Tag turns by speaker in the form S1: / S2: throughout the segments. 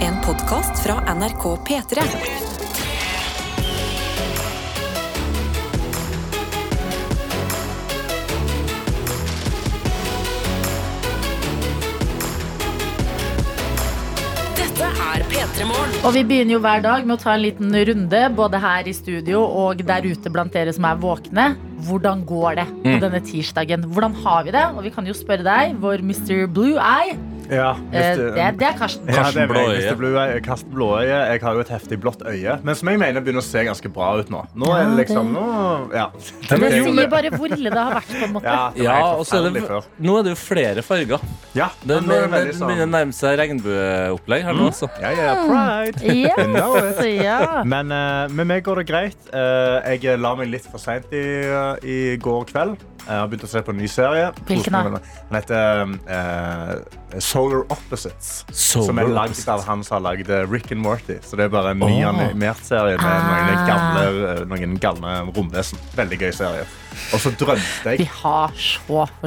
S1: En podkast fra NRK P3. Dette er P3 Morgen.
S2: Og vi begynner jo hver dag med å ta en liten runde, både her i studio og der ute blant dere som er våkne. Hvordan går det på
S3: Mm.
S2: denne tirsdagen? Hvordan har vi det? Og vi kan jo spørre deg, vår Mr. Blue Eye.
S4: Ja,
S2: Eh,
S4: hvis du-
S2: det, det er Karsten.
S4: ja, det
S3: Karsten
S4: er
S3: Blå
S4: meg.
S3: Øye.
S4: Hvis det blå øye. Karsten Blå øye. Jeg har jo et heftig blått øye, men som jeg mener begynner å se ganske bra ut nå. Nå er det liksom nå, ja.
S2: Det
S3: Men jo,
S2: sier
S3: men-
S2: bare hvor ille det har vært, på en måte.
S4: Ja, det var
S3: Ja,
S4: helt
S3: og så er det,
S4: forferdelig før.
S3: nå er det jo flere farger.
S4: Ja,
S3: Det
S4: men nå er det veldig
S3: begynner å
S4: sånn Mm.
S3: nærme seg regnbueopplegg her nå, altså.
S4: Ja, ja, ja, pride. know
S2: Yes,
S4: it.
S2: ja.
S4: Men eh, med meg går det greit. Eh, jeg la meg litt for seint i, eh, i går kveld. Jeg har begynt å se på en ny serie.
S2: Hvilken da?
S4: Den heter eh, Solar Opposites. som er lagd av han som har lagd eh, Rick and Morty. Så det er bare en ny
S3: Åh.
S4: animert serie med noen
S2: Ah.
S4: gamle, eh, noen gamle romvesen. Veldig gøy serie. Og så drømte
S2: Vi
S4: jeg
S2: har så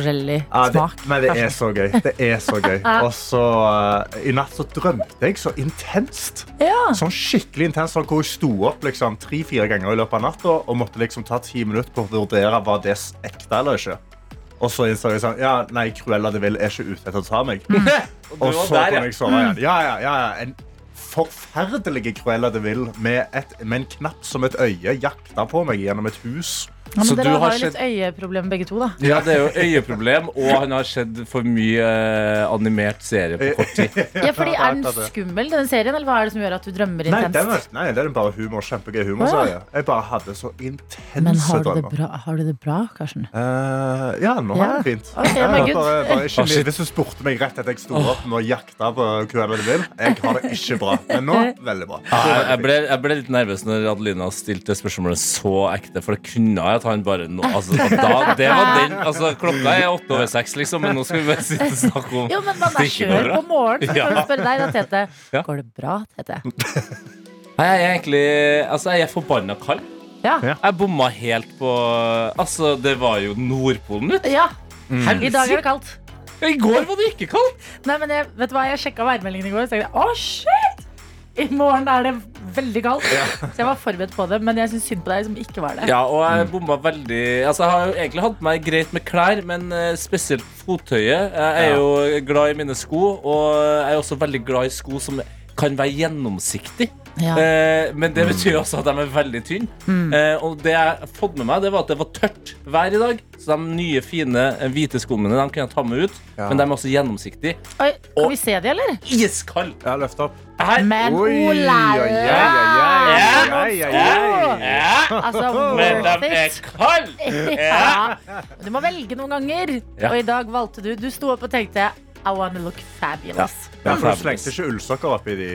S2: forskjellig
S4: Ja, det,
S2: smak.
S4: men det er så gøy. Det er så gøy. Og så eh, i natt så drømte jeg så intenst.
S2: Ja.
S4: Sånn skikkelig intenst, sånn hvor jeg sto opp liksom, tre-fire ganger i løpet av natta og måtte liksom ta ti minutter på å vurdere var det ekte eller ikke. Og så innså jeg sånn, ja, nei, Cruella de Vil er ikke ute etter å ta meg.
S2: Mm.
S4: Og så
S3: der, ja.
S4: kunne jeg sove igjen. Ja, Mm. ja, ja, ja. En forferdelig Cruella de Vil med, et, med en knapp som et øye jakta på meg gjennom et hus.
S2: Ja, men
S3: Så du
S2: dere
S3: har
S2: har jo litt øyeproblemer begge to, da.
S3: Ja, det er jo øyeproblem, og han har sett for mye eh, animert serie på kort tid.
S2: Ja, fordi
S4: Ja,
S2: Er den
S4: klart det.
S2: skummel, denne serien, eller hva er det som gjør at du drømmer
S4: Nei, den
S2: intenst?
S4: er, nei, det er bare humor. Kjempegøy humorserie. Jeg bare hadde så
S2: Men
S4: intense
S2: har du det
S4: drømmer.
S2: bra, har du det bra Karsten?
S4: Eh, ja, nå har
S2: Ja.
S4: jeg det fint.
S2: Ok,
S4: Ja,
S2: men gud.
S4: bare, bare ikke,
S3: Ah, shit.
S4: Hvis du spurte meg rett etter jeg sto opp med å jakte på Cruella de Vil, jeg har det ikke bra. Men nå veldig bra.
S3: Jeg, jeg, ble, jeg ble litt nervøs når Adelina stilte spørsmålet så ekte, for det kunne jeg at han bare nå, altså, da, det var den, altså, Klokka er åtte over seks, liksom, men nå skal vi bare sitte og snakke om
S2: Jo, men man er
S3: Drikker
S2: skjør
S3: dere?
S2: på morgenen, så
S3: Ja.
S2: kan du spørre deg da, Tete.
S3: Ja.
S2: Går det bra, Tete?
S3: Nei, Jeg er egentlig altså, jeg er forbanna kald.
S2: Ja.
S4: Ja.
S3: Jeg bomma helt på Altså, det var jo Nordpolen, vet du.
S2: ja.
S3: Mm.
S2: I dag er
S3: Helsike!
S2: det kaldt.
S3: I går var det ikke kaldt.
S2: Nei, men jeg, vet du hva, jeg sjekka værmeldingen i går, og så tenkte jeg å, shit! I morgen er det veldig kaldt. Så jeg var forberedt på det, men jeg syns synd på deg som ikke var det.
S3: Ja, og jeg bomma veldig Altså, jeg har jo egentlig hatt på meg greit med klær, men eh, spesielt fottøyet. Jeg er
S4: Ja.
S3: jo glad i mine sko, og jeg er også veldig glad i sko som kan være gjennomsiktig.
S2: Ja.
S3: Eh, men det betyr jo også at de er veldig tynne. Eh, og det jeg har fått med meg, det var at det var tørt vær i dag. Så de nye, fine eh, hvite skoene mine de kunne jeg ta med ut,
S4: Ja.
S3: men de er også gjennomsiktige.
S2: Oi, kan
S3: og-
S2: vi se de, eller?
S3: Iskald!
S4: Ja, løft opp.
S3: Her
S2: Men
S4: Oi, oi, oi, oi,
S2: Ola!
S4: oi, oi, oi, oi.
S3: ja,
S2: Altså,
S3: Men
S2: worth
S3: de er
S2: it.
S3: kalde!
S2: Ja. Du må velge noen ganger.
S3: Ja.
S2: Og i dag valgte du. Du sto opp og tenkte I wanna look fabulous.
S4: Ja, for Du slengte ikke ullsokker oppi de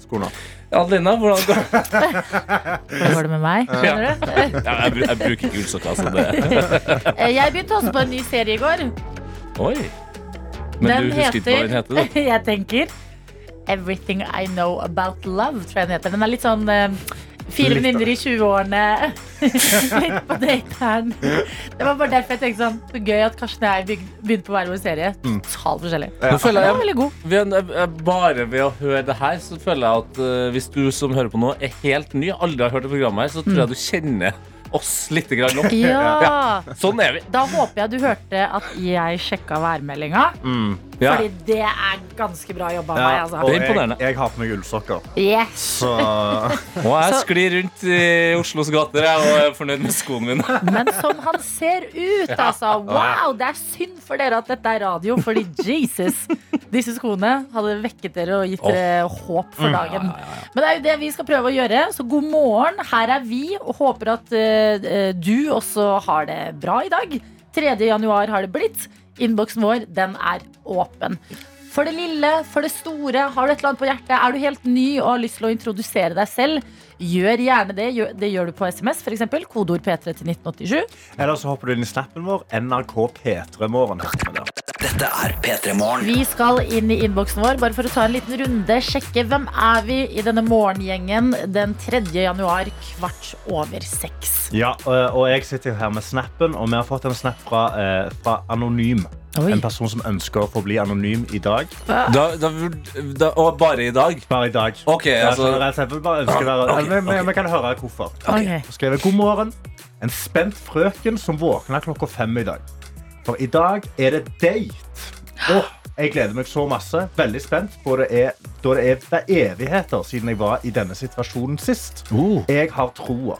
S4: skoene.
S3: Adelina, hvordan går det?
S2: Hvordan går det med meg? Skjønner du?
S3: Ja, jeg, bru- jeg bruker ikke ullsokker, altså. Det.
S2: Eh, Jeg begynte også på en ny serie i går.
S3: Oi. Men
S2: den
S3: du husker ikke hva den heter? da?
S2: jeg tenker Everything I Know About Love, tror jeg den heter. Den er litt sånn eh, Fire
S4: Litt av
S2: venninner i 20-årene. litt på dateren. Det var bare derfor jeg tenkte sånn Så gøy at Karsten og jeg byg- begynte på hver vår serie.
S3: Mm.
S2: Totalt forskjellig.
S3: Nå føler
S2: Den
S3: jeg
S2: var veldig god.
S3: Ved, eh, bare ved å høre det her, så føler jeg at eh, hvis du som hører på nå, er helt ny, aldri har hørt det programmet her, så tror jeg du kjenner oss litt grann nå.
S2: Ja.
S3: Sånn er vi.
S2: Da håper jeg du hørte at jeg sjekka værmeldinga.
S3: Ja.
S2: Fordi det er ganske bra jobba av meg,
S4: Ja, og
S2: altså.
S3: Det er
S4: jeg,
S3: imponerende.
S4: jeg har på meg ullsokker.
S2: Yes.
S4: Så eh,
S3: Og jeg
S2: Så-
S3: sklir rundt i Oslos gater jeg, og er fornøyd med skoene mine.
S2: Men som han ser ut, altså. Wow, det er synd for dere at dette er radio, fordi Jesus. Disse skoene hadde vekket dere og gitt dere håp for dagen. Men det er jo det vi skal prøve å gjøre. Så god morgen, her er vi, og håper at eh, eh, du også har det bra i dag. 3. januar har det blitt. Innboksen vår, den er åpen. For det lille, for det store, har du et eller annet på hjertet, er du helt ny og har lyst til å introdusere deg selv, gjør gjerne det. Gjør- Det gjør du på SMS, f.eks. Kodeord P3 til 1987.
S4: Eller så hopper du inn i snappen vår. NRK P3morgen.
S5: Dette er P3 Morgen.
S2: Vi skal inn i innboksen vår bare for å ta en liten runde. Sjekke hvem er vi i denne morgengjengen den 3. januar kvart over seks.
S4: Ja, og og jeg sitter her med snappen, og vi har fått en snap fra, eh, fra Anonym.
S2: Oi.
S4: En person som ønsker å forbli anonym i dag.
S3: Da, da, vurd- da, og bare i dag?
S4: Bare i dag.
S3: Ok,
S4: Ja,
S3: altså-
S4: generelt sett, vi bare ønsker å være-
S3: Ah, ok,
S4: Eller, vi,
S3: ok.
S4: vi kan høre hvorfor.
S2: Ok.
S4: Så skrev jeg god morgen. En spent frøken som våkna klokka fem i dag. For i dag er det date. Åh, jeg gleder meg så masse. Veldig spent på det er, da det er det er evigheter siden jeg var i denne situasjonen sist. Jeg har troa.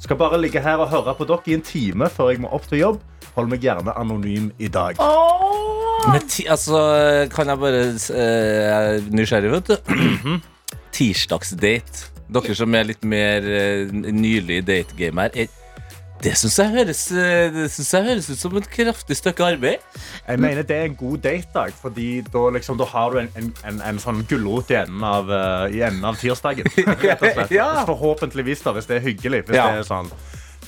S4: Skal bare ligge her og høre på dere i en time før jeg må opp til jobb. Hold meg gjerne anonym i dag.
S2: Åh!
S3: Men ti, altså, kan jeg bare eh, Jeg er nysgjerrig, vet du. Tirsdagsdate. Dere som er litt mer eh, nylig i dategamet her. er- Det syns jeg, høres, eh, det synes jeg høres ut som et kraftig stykke arbeid.
S4: Jeg mener det er en god datedag, fordi da, liksom, da har du en, en, en, en sånn gulrot i enden av, eh, i enden av tirsdagen. rett og slett.
S3: Ja.
S4: Forhåpentligvis, da, hvis det er hyggelig. Hvis
S3: Ja.
S4: det er sånn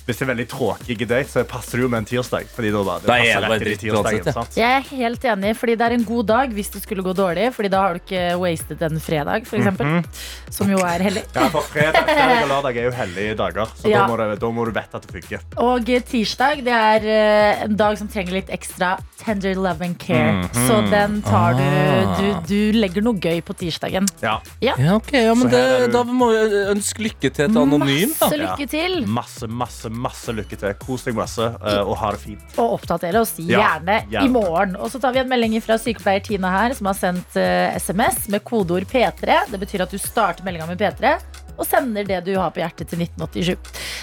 S4: hvis det er veldig tråkig date, så passer det jo med en tirsdag. Fordi da, da, det
S3: Da er
S4: passer
S3: det
S4: rett
S3: bare
S4: inn i
S3: dritt
S4: tirsdagen,
S3: uansett, ja.
S4: sant?
S2: Jeg er helt enig, fordi det er en god dag hvis det skulle gå dårlig. Fordi da har du ikke wasted en fredag, for eksempel.
S3: Mhm.
S2: Som jo er hellig.
S4: Ja, for fredag, fredag og lørdag er jo hellige dager, så
S2: Ja.
S4: da, må du, da må du vite at det funker.
S2: Og eh, tirsdag det er eh, en dag som trenger litt ekstra tender love and care. Så den tar du,
S3: Mhm. Ah.
S2: du Du legger noe gøy på tirsdagen.
S4: Ja,
S3: Ja, ok, ja,
S4: Så
S3: men
S4: her er
S3: det,
S4: du-
S3: Da må vi ønske lykke til til Anonym, da.
S2: Masse lykke til,
S4: masse, masse, masse lykke til. Kos deg masse, eh, og ha det fint.
S2: og oppdatere oss
S4: Ja,
S2: gjerne i
S4: gjerne.
S2: morgen. Og så tar vi en melding fra sykepleier Tina her, som har sendt eh, SMS med kodeord P3. Det betyr at du starter meldinga med P3 og sender det du har på hjertet til 1987.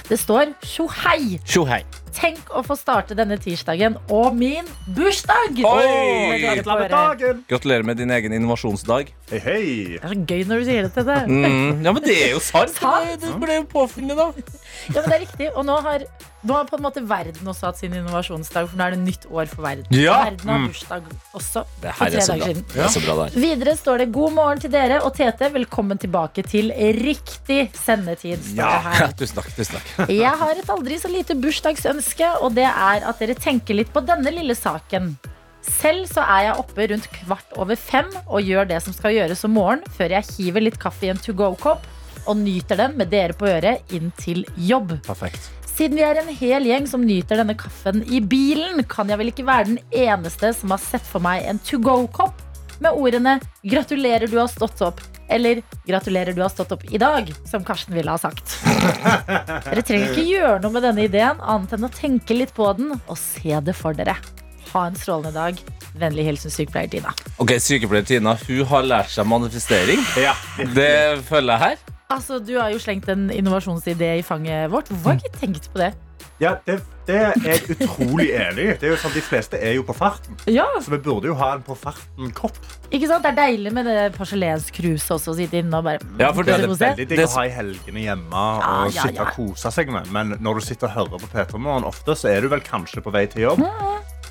S2: Det står tjo hei!
S3: Tjo hei.
S2: Tenk å få starte denne tirsdagen og min bursdag!
S3: Oi!
S2: Det er
S4: Gratulerer med
S2: bare-
S4: dagen!
S3: Gratulerer med din egen innovasjonsdag.
S4: Hei, hei!
S2: Det er så gøy når du sier det til deg.
S3: Mm, ja, men det er jo sant!
S2: Sant.
S3: Det ble jo påfunnet, da.
S2: Ja, men det er riktig. Og nå har, nå har på en måte verden også hatt sin innovasjonsdag, for nå er det nytt år for verden.
S3: Ja. Mm.
S2: Og Verden har bursdag også
S3: Det
S2: for
S3: her
S2: tre
S3: er så
S2: dager
S3: bra.
S2: siden.
S3: Det er så bra der.
S2: Videre står det 'God morgen til dere og Tete. Velkommen tilbake til riktig sendetid'. står det her.
S3: Tusen takk. tusen takk
S2: Jeg har et aldri så lite bursdagsønske, og det er at dere tenker litt på denne lille saken. Selv så er jeg oppe rundt kvart over fem og gjør det som skal gjøres om morgenen, før jeg hiver litt kaffe i en to go-kopp og nyter den med dere på øret inn til jobb.
S3: Perfekt.
S2: Siden vi er en hel gjeng som nyter denne kaffen i bilen, kan jeg vel ikke være den eneste som har sett for meg en to go-kopp med ordene 'Gratulerer, du har stått opp' eller 'Gratulerer, du har stått opp i dag', som Karsten ville ha sagt. Dere trenger ikke gjøre noe med denne ideen, annet enn å tenke litt på den og se det for dere. Ha en strålende dag. Vennlig hilsen sykepleier Dina.
S3: Ok, Sykepleier Tina hun har lært seg manifestering.
S4: Ja.
S3: Det følger jeg her.
S2: Altså, Du har jo slengt en innovasjonsidé i fanget vårt. Hvorfor har jeg ikke tenkt på det?
S4: Ja, det, det er jeg utrolig enig i. Det er jo sånn, De fleste er jo på farten.
S2: Ja,
S4: Så vi burde jo ha en på farten-kopp.
S2: ikke sant? Det er deilig med det porselenskruset også, å sitte inne og bare
S3: Ja, for
S4: Det
S3: det
S4: er
S2: Kose.
S4: veldig digg
S3: Det
S4: å ha i helgene hjemme og
S2: Ah, ja,
S4: sitte
S2: ja.
S4: og kose seg med. Men når du sitter og hører på P3 Morgen ofte, så er du vel kanskje på vei til jobb.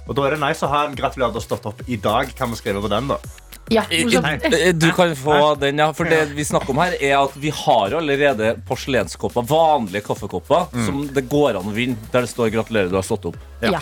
S4: Og da er det nice å ha en gratulerer du har stått opp i dag. Kan vi skrive på den, da?
S2: Ja, morsomt.
S3: Eh, Du kan få den, ja. For det vi snakker om her, er at vi har jo allerede porselenskopper, vanlige kaffekopper, som det går an å vinne, der det står 'Gratulerer, du har stått opp'.
S2: Ja.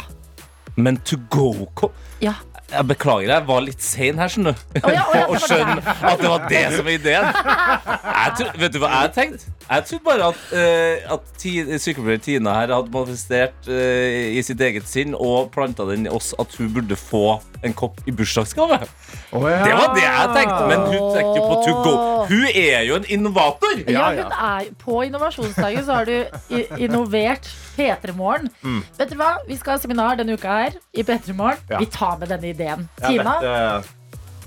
S3: Men to go-kopp
S2: ja.
S3: Jeg beklager, jeg var litt sein her, skjønner du.
S2: Å ja, å ja, det
S3: Og
S2: var
S3: skjønne
S2: det.
S3: at det var det som var ideen. Jeg tror, vet du hva jeg tenkte? Jeg trodde bare at, eh, at ti, sykepleier Tina her hadde manifestert eh, i sitt eget sinn og planta den i oss at hun burde få en kopp i bursdagsgave. Det var det jeg tenkte, men hun tenkte jo på to go. Hun er jo en innovator!
S2: Ja, hun er, på innovasjonsdagen så har du i- innovert P3 Morgen. Vet dere hva? Vi skal ha seminar denne uka her i P3 Morgen.
S4: Ja.
S2: Vi tar med denne ideen.
S4: Ja,
S2: Tima,
S4: dette,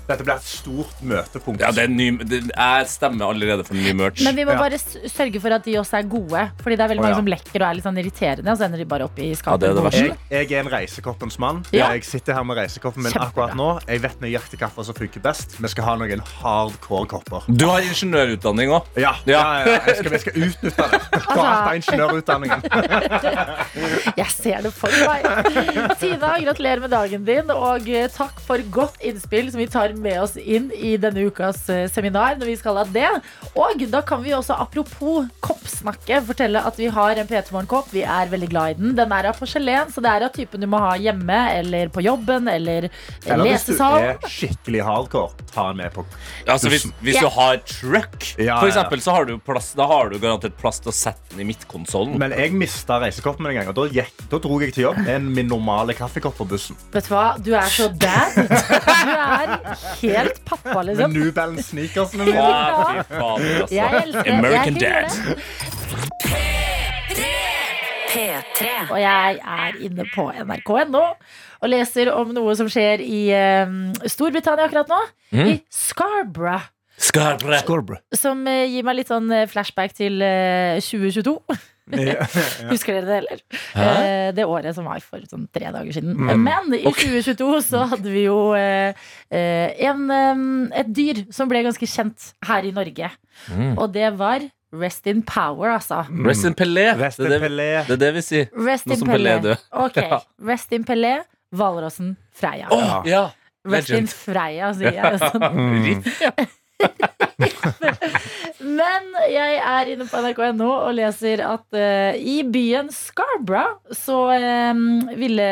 S4: dette blir et stort møtepunkt.
S3: Ja, det er ny, det, jeg stemmer allerede for ny merch.
S2: men vi må
S4: Ja.
S2: bare s- sørge for at de også er gode. Fordi det er veldig
S4: Å,
S2: mange
S4: ja.
S2: som lekker og er litt sånn irriterende, og så ender de bare opp i
S3: Ja, det
S2: skapet.
S3: er det verste.
S4: jeg, jeg er en reisekoppens mann.
S2: Ja.
S4: Jeg sitter her med reisekoppen min
S2: Kjempebra.
S4: akkurat nå. Jeg vet nøyaktig hva som funker best. Vi skal ha noen hardcore kopper.
S3: Du har ingeniørutdanning òg.
S4: Ja, ja.
S3: Ja.
S4: ja, Jeg, skal, jeg skal utnytte det.
S2: Altså-
S4: Dataingeniørutdanningen.
S2: Jeg ser det for meg. Tina, gratulerer med dagen din, og eh, takk for godt innspill som vi tar med oss inn i denne ukas eh, seminar. når vi skal ha det. Og da kan vi også, apropos koppsnakke, fortelle at vi har en P3 Morgen-kopp. Vi er veldig glad i den. Den er av porselen, så det er av typen du må ha hjemme eller på jobben eller,
S4: Eller
S2: eller
S4: hvis du
S2: lesesal.
S4: er skikkelig hardcore, ta den med på
S3: Altså, hvis, hvis du
S2: Ja.
S3: har truck,
S4: Ja, ja,
S3: for
S4: ja.
S3: eksempel, så har du, plass, da har du garantert plass til å sette den i midtkonsollen.
S4: Men jeg mista reisekoppen en gang, og da, gikk, da dro jeg til jobb med en- min normale kaffekopp på bussen.
S2: Vet du hva? Du er så dad. Du er helt pappa,
S4: Med
S2: liksom.
S4: New Balance sneakersene mine.
S3: Å, fy fader, altså.
S2: Jeg elsker det.
S3: American
S2: Jeg hyller
S3: Dad.
S1: P3.
S2: Og jeg er inne på nrk.no og leser om noe som skjer i eh, Storbritannia akkurat nå. I Scarborough.
S3: Skarbre.
S2: Som eh, gir meg litt sånn eh, flashback til eh, 2022. Husker dere det, eller? Eh, det året som var for sånn tre dager siden. Men i 2022 så hadde vi jo eh, eh, en, eh, et dyr som ble ganske kjent her i Norge. Og det var Rest in Power, altså.
S3: Rest in Pelé.
S4: Rest
S3: det,
S4: in
S3: er det,
S4: Pelé.
S3: det er det vi sier.
S2: Rest
S3: Nå
S2: in
S3: som Pelé
S2: Pelé.
S3: er død.
S2: Ok, Rest in Pelé, Hvalrossen Freia.
S3: Å, ja.
S2: Rest in
S3: Legend.
S2: Freia, sier jeg. Sånn.
S4: Mm.
S2: Men jeg er inne på nrk.no og leser at eh, i byen Scarborough så eh, ville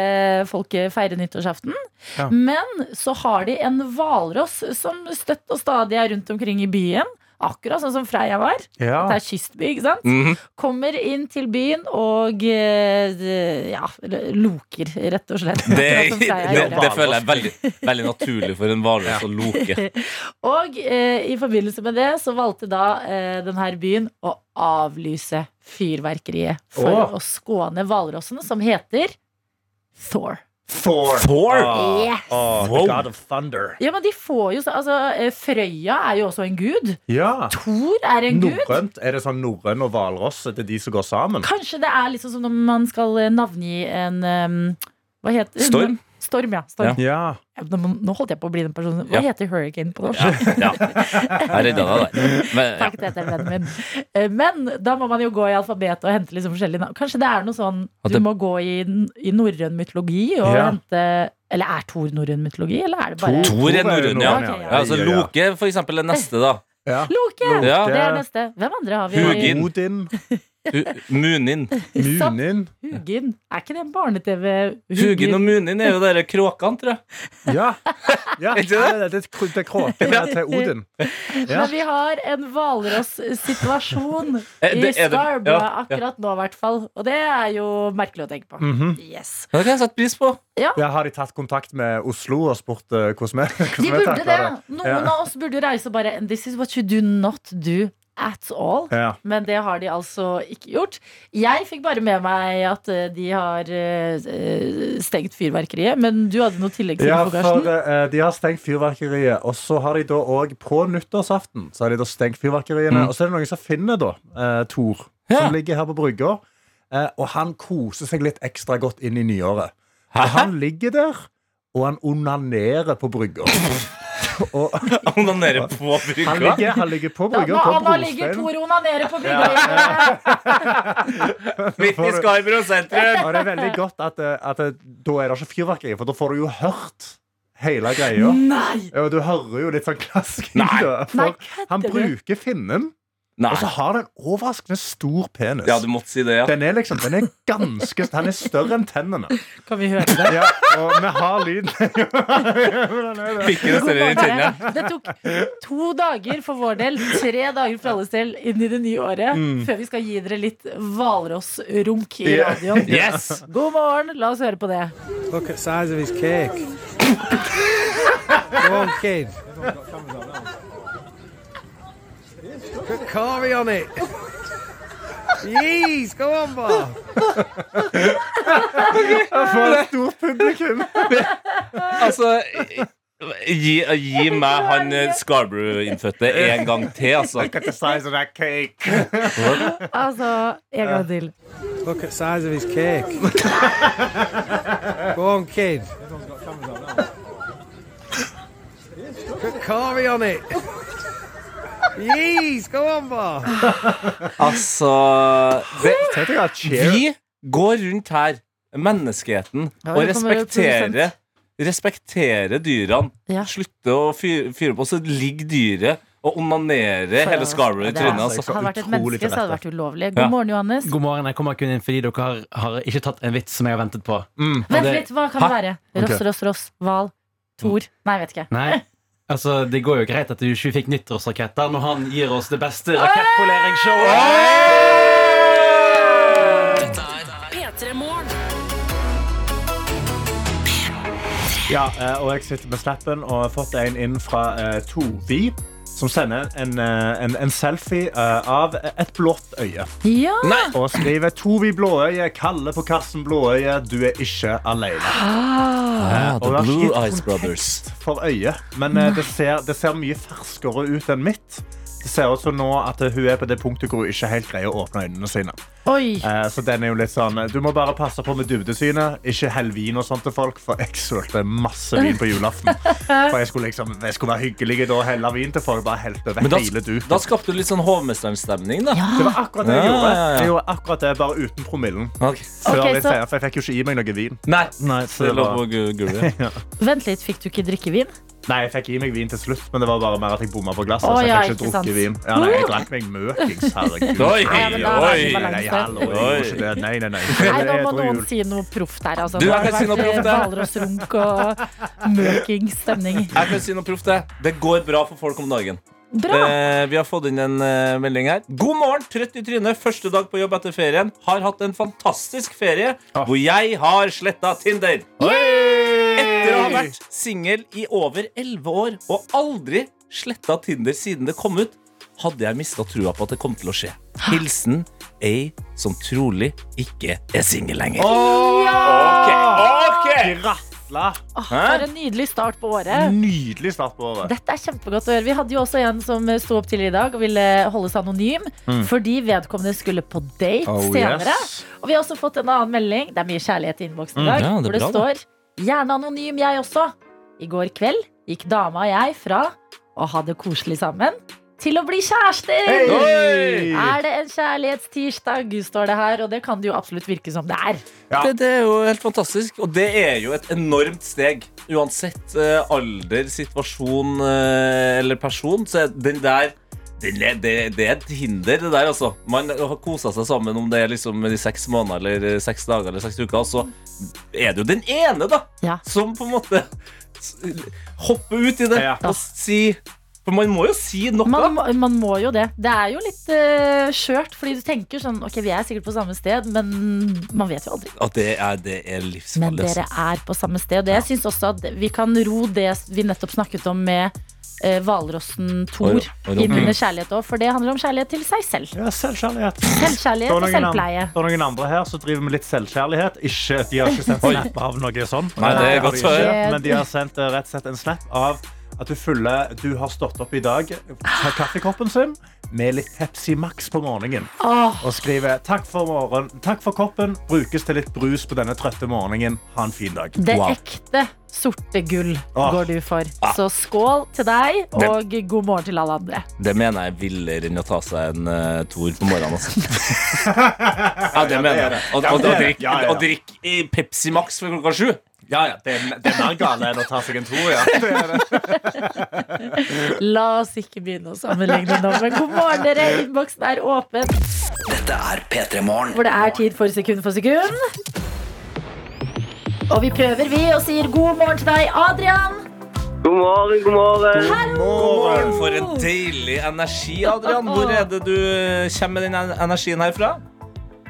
S2: folket feire nyttårsaften.
S4: Ja.
S2: Men så har de en hvalross som støtt og stadig er rundt omkring i byen. Akkurat sånn som Freia var. Det
S4: Ja.
S2: er kystby, ikke sant?
S3: Mhm.
S2: Kommer inn til byen og eh, ja, loker, rett og slett.
S3: Det,
S2: Akkurat som
S3: det,
S2: Freia
S3: det,
S2: gjorde.
S3: det føler jeg er veldig, veldig naturlig for en hvalross å loke.
S2: Og eh, i forbindelse med det så valgte da eh, denne byen å avlyse fyrverkeriet for
S4: Åh.
S2: å skåne hvalrossene, som heter Thor.
S4: Thor.
S3: Thor?
S4: Ah,
S2: Yes.
S4: ah,
S3: Wow.
S4: the God of Thunder.
S2: Ja, men de får jo så Altså, eh, Frøya er jo også en gud.
S4: Ja.
S2: Thor er en gud.
S4: Norrønt. Er det sånn norrøn og hvalross? Er det de som går sammen?
S2: Kanskje det er liksom som når man skal eh, navngi en ehm, Hva heter
S3: Storm?
S2: Storm, ja. Storm.
S4: Ja.
S2: Nå, nå holdt jeg på å bli den personen.
S3: Ja.
S2: Hva heter hurricane på norsk?
S3: Ja. Jeg redda deg der. Men, ja.
S2: Takk, dette er vennen min. Eh, Men da må man jo gå i alfabetet og hente liksom forskjellige navn. Kanskje det er noe sånn
S3: At
S2: du
S3: det-
S2: må gå i, n- i norrøn mytologi og
S4: Ja.
S2: hente Eller er Thor norrøn mytologi, eller er det bare
S3: Thor er norrøn, ja.
S2: norrøn,
S3: ja. Altså, Loke for eksempel er neste, da.
S4: Ja.
S2: Loke!
S3: Ja.
S2: Det er neste. Hvem andre har vi?
S3: Hugin.
S4: Odin.
S3: Hu- Munin.
S2: Sant.
S4: Munin.
S2: Hugin. Er ikke det en barne-TV?
S3: Hugin og Munin er jo dere kråkene, tror jeg.
S4: Ja. ja.
S3: Ikke det?
S4: Det er kr- det er kråkene til Odin. ja.
S2: Men vi har en hvalross-situasjon
S3: Eh,
S2: i
S3: det er det-
S2: Scarborough
S3: ja, ja.
S2: akkurat nå, i hvert fall. Og det er jo merkelig å tenke på.
S3: Mhm.
S2: Yes.
S3: Ja, Det kan jeg sette pris på.
S4: Ja, har de tatt kontakt med Oslo og spurt eh, hvordan vi
S2: De
S4: hvordan vi
S2: burde det.
S4: takler
S2: Noen
S4: Ja.
S2: av oss burde jo reise og bare This is what you do not do at all.
S4: Ja.
S2: Men det har de altså ikke gjort. Jeg fikk bare med meg at eh, de har eh, eh, stengt fyrverkeriet, men du hadde noe tillegg til
S4: Ja,
S2: ja,
S4: for eh, De har stengt fyrverkeriet, og så har de da òg på nyttårsaften Så har de da stengt fyrverkeriene.
S3: Mm.
S4: Og så er det noen som finner da eh, Tor,
S3: Ja.
S4: som ligger her på brygga. eh, og han koser seg litt ekstra godt inn i nyåret. Og han ligger der, og han onanerer på brygga. og
S3: Han er nede på
S4: han
S3: brygga.
S4: ligger, han ligger på
S2: Da,
S4: brygga.
S2: nå,
S4: på
S2: nå ligger
S4: brosteinen.
S2: Torona nede på brygga.
S3: Midt i Skarbro sentrum.
S4: Og det er veldig godt at, eh, at eh, da er det ikke fyrverkeri, for da får du jo hørt hele greia.
S2: Nei!
S4: Ja, og du hører jo litt sånn klasking.
S3: Nei.
S4: da,
S2: Nei,
S4: for han
S2: kødder du?
S4: bruker finnen,
S3: Nei.
S4: og så har han en overraskende stor penis.
S3: Altså, Ja, du måtte si det, ja.
S4: Den er liksom, den er ganske Han er større enn tennene.
S2: Kan vi høre det?
S4: Ja, og vi har lyden.
S3: Pikken ser i tennene.
S2: Det tok to dager for vår del, tre dager for alles del inn i det nye året,
S4: Mm.
S2: før vi skal gi dere litt hvalrossrunk i
S4: Ja.
S2: radioen.
S3: Yes!
S2: God morgen, la oss høre på det.
S5: Look at the size of his cake. Go on, kid. Put Carvey on it. Jeez, go on, Bob.
S4: For et stort publikum.
S3: Altså Gi, gi meg han eh, Scarborough-innfødte en gang til, altså.
S4: Look at the size of that cake.
S2: Altså, en gang til.
S5: Look at the size of his cake. Go on, kid. Put Carvey on it. Jeez, go on, Bob.
S3: Altså det,
S4: Tenk deg at Cher
S3: Vi går rundt her, menneskeheten,
S2: Ja,
S3: og
S2: det kommer jo
S3: respekterer
S2: produsent.
S3: respektere dyrene.
S2: Ja.
S3: Slutte å fyre, fyre på, så ligger dyret og onanerer hele Scarborough i
S2: Det er-
S3: trynet. Altså.
S4: altså.
S2: Hadde vært et
S4: Utrolig
S2: menneske, så hadde det vært ulovlig. God
S3: Ja.
S2: morgen, Johannes.
S6: God morgen. Jeg kommer kun inn fordi dere har, har ikke tatt en vits som jeg har ventet på.
S2: Vent
S6: det-
S2: litt, hva kan det være? Ross,
S4: Ok.
S2: Ross, Ross, Hval, Thor Nei, jeg vet ikke.
S6: Nei. Altså, Det går jo greit at du ikke fikk nyttårsraketter når han gir oss det beste rakettpoleringsshowet.
S1: P3 Morgen.
S4: Ja, eh, og jeg sitter med snappen og har fått en inn fra eh, Tobi, som sender en, eh, en, en selfie eh, av et blått øye.
S2: Ja!
S4: Og skriver Tovi Blåøye, Kalle på Karsten Blåøye, du er ikke alene.
S3: Ah,
S4: Og det er ikke
S3: Eyes Brothers.
S4: For øyet. Men eh, det ser, det ser mye ferskere ut enn mitt. Det ser ut som nå at eh, hun er på det punktet hvor hun ikke helt greier å åpne øynene sine.
S2: Oi.
S4: Eh, Så den er jo litt sånn Du må bare passe på med dybdesynet. Ikke hell vin og sånt til folk, for jeg sølte masse vin på julaften. For jeg skulle liksom Jeg skulle være hyggelig da og helle vin til folk. Bare helte over
S3: Men da,
S4: hele duken.
S3: da skapte du litt sånn hovmesterstemning, da.
S4: Det var akkurat det jeg
S3: Ja,
S4: gjorde.
S3: ja, ja.
S4: Jeg gjorde akkurat det, Bare uten promillen.
S3: Ok.
S4: Før
S2: Ok,
S4: jeg
S2: så-
S4: sier, for jeg fikk jo ikke i meg noe vin.
S3: Nei,
S4: Nei, så
S3: det
S4: det
S3: lå
S4: var-
S3: på gu- gulvet.
S2: Vent litt, fikk du ikke drikkevin?
S4: Nei, jeg fikk i meg vin til slutt, men det var bare mer at jeg bomma på glasset.
S2: Å,
S4: så jeg
S2: ja,
S4: fikk
S2: ikke
S4: ikke
S2: sant.
S4: drukke vin. Ja, nei, jeg drakk meg møkings, herregud.
S3: Oi,
S2: Ja, men da er det
S3: oi.
S2: balanse.
S4: Nei, hallo, jeg gjorde ikke det. Nei, nei, nei.
S2: Nei, nå
S4: Jeg
S2: må
S4: tror
S2: noen
S4: jul-
S2: si noe proft her, altså.
S3: Du,
S2: Nå
S3: jeg
S2: har det
S3: kan si noe
S2: vært, eh,
S3: proft, jeg.
S2: Hvalrossrunk og møking stemning.
S3: Jeg kan si noe proft, jeg. Det går bra for folk om dagen.
S2: Bra!
S3: Eh, vi har fått inn en eh, melding her. God morgen, trøtt i trynet. Første dag på jobb etter ferien. Har hatt en fantastisk ferie hvor jeg har sletta Tinder. Etter å ha vært singel i over 11 år og aldri sletta Tinder siden det kom ut, hadde jeg mista trua på at det kom til å skje. Hilsen ei som trolig ikke er singel lenger. Ok,
S4: Grasla.
S2: Åh, For en nydelig start på året.
S4: Nydelig start på året.
S2: Dette er kjempegodt å høre. Vi hadde jo også en som eh, sto opp tidligere i dag og ville eh, holde seg anonym
S3: Mm.
S2: fordi vedkommende skulle på date
S4: Oh,
S2: senere.
S4: yes.
S2: Og vi har også fått en annen melding. Det er mye kjærlighet i innboksen i dag.
S3: Mm. ja, det er
S2: hvor det
S3: bra,
S2: står 'Gjerne anonym, jeg også'. I går kveld gikk dama og jeg fra å ha det koselig sammen til å bli kjærester.
S4: Hei!
S2: Er det en kjærlighetstirsdag, står det her, og det kan det jo absolutt virke som det er.
S4: Ja.
S3: Det, det er jo helt fantastisk, og det er jo et enormt steg. Uansett eh, alder, situasjon eh, eller person, så er den der den er, det, det er et hinder, det der, altså. Man har kosa seg sammen om det er liksom i seks måneder eller eh, seks dager eller seks uker, og så er det jo den ene, da,
S2: Ja.
S3: som på en måte s- hopper ut i det
S4: Ja.
S3: og si For man må jo si noe.
S2: Man, må- man må jo det. Det er jo litt eh, skjørt, fordi du tenker sånn Ok, vi er sikkert på samme sted, men man vet jo aldri.
S3: At det er, det er
S2: Men
S3: livsfarlig.
S2: dere
S3: altså.
S2: er på samme sted. Og jeg syns også at vi kan ro det vi nettopp snakket om med eh, hvalrossen Thor
S3: Oi, oi, oi.
S2: inn under kjærlighet òg, for det handler om kjærlighet til seg selv.
S4: Ja, selvkjærlighet. Det
S2: Selvkjærlighet
S4: er
S2: og
S4: noen
S2: selvpleie.
S4: andre- det er noen andre her som driver med litt selvkjærlighet. Ikke, de har ikke sendt snap av noe sånt.
S3: Nei, det er godt å
S2: høre.
S4: Men de har sendt eh, rett og slett en snap av at du følger Du har stått opp i dag, tar kaffekoppen sin med litt Pepsi Max på morgenen.
S2: Åh,
S4: Og skriver takk for, morgen, takk for koppen. Brukes til litt brus på denne trøtte morgenen. Ha en fin dag.
S2: det
S3: Wow. Ah.
S2: ekte sorte gull
S4: Åh.
S2: går du for. Så skål til deg, og god morgen til alle andre.
S3: Det mener jeg er villere enn å ta seg en uh, Tor på morgenen. Altså. ja, det mener jeg. Og, og, og, drikk-
S4: Ja, ja, ja.
S3: og drikk i Pepsi Max før klokka sju.
S4: Ja, ja, det, er, det er mer gale enn å ta seg en to, ja.
S2: La oss ikke begynne å sammenligne nå, men god morgen, dere. Innboksen er åpen. Dette er P3 Morgen. Hvor det er tid for sekund for sekund. Og vi prøver, vi, og sier god morgen til deg, Adrian.
S7: God morgen, god morgen.
S3: Morgen, for en deilig energi, Adrian. Hvor er det du eh, kommer med den en- energien herfra?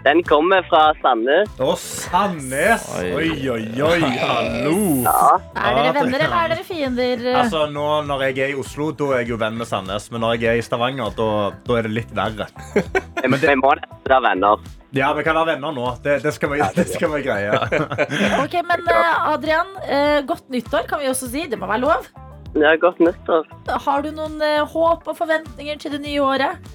S7: Den kommer fra Sandnes.
S4: Og Sandnes! Oi, oi, oi, hallo!
S2: Er dere
S4: Adrian.
S2: venner, eller er dere fiender?
S4: Altså, nå Når jeg er i Oslo, da er jeg jo venn med Sandnes. Men når jeg er i Stavanger, da, da er det litt verre.
S7: Vi må nesten være venner.
S4: Ja, vi kan være venner nå. Det, det, skal, vi, det skal vi greie.
S2: Ok, men eh, Adrian, eh, godt nyttår kan vi også si. Det må være lov.
S7: Det er godt nyttår.
S2: Har du noen eh, håp og forventninger til det nye året?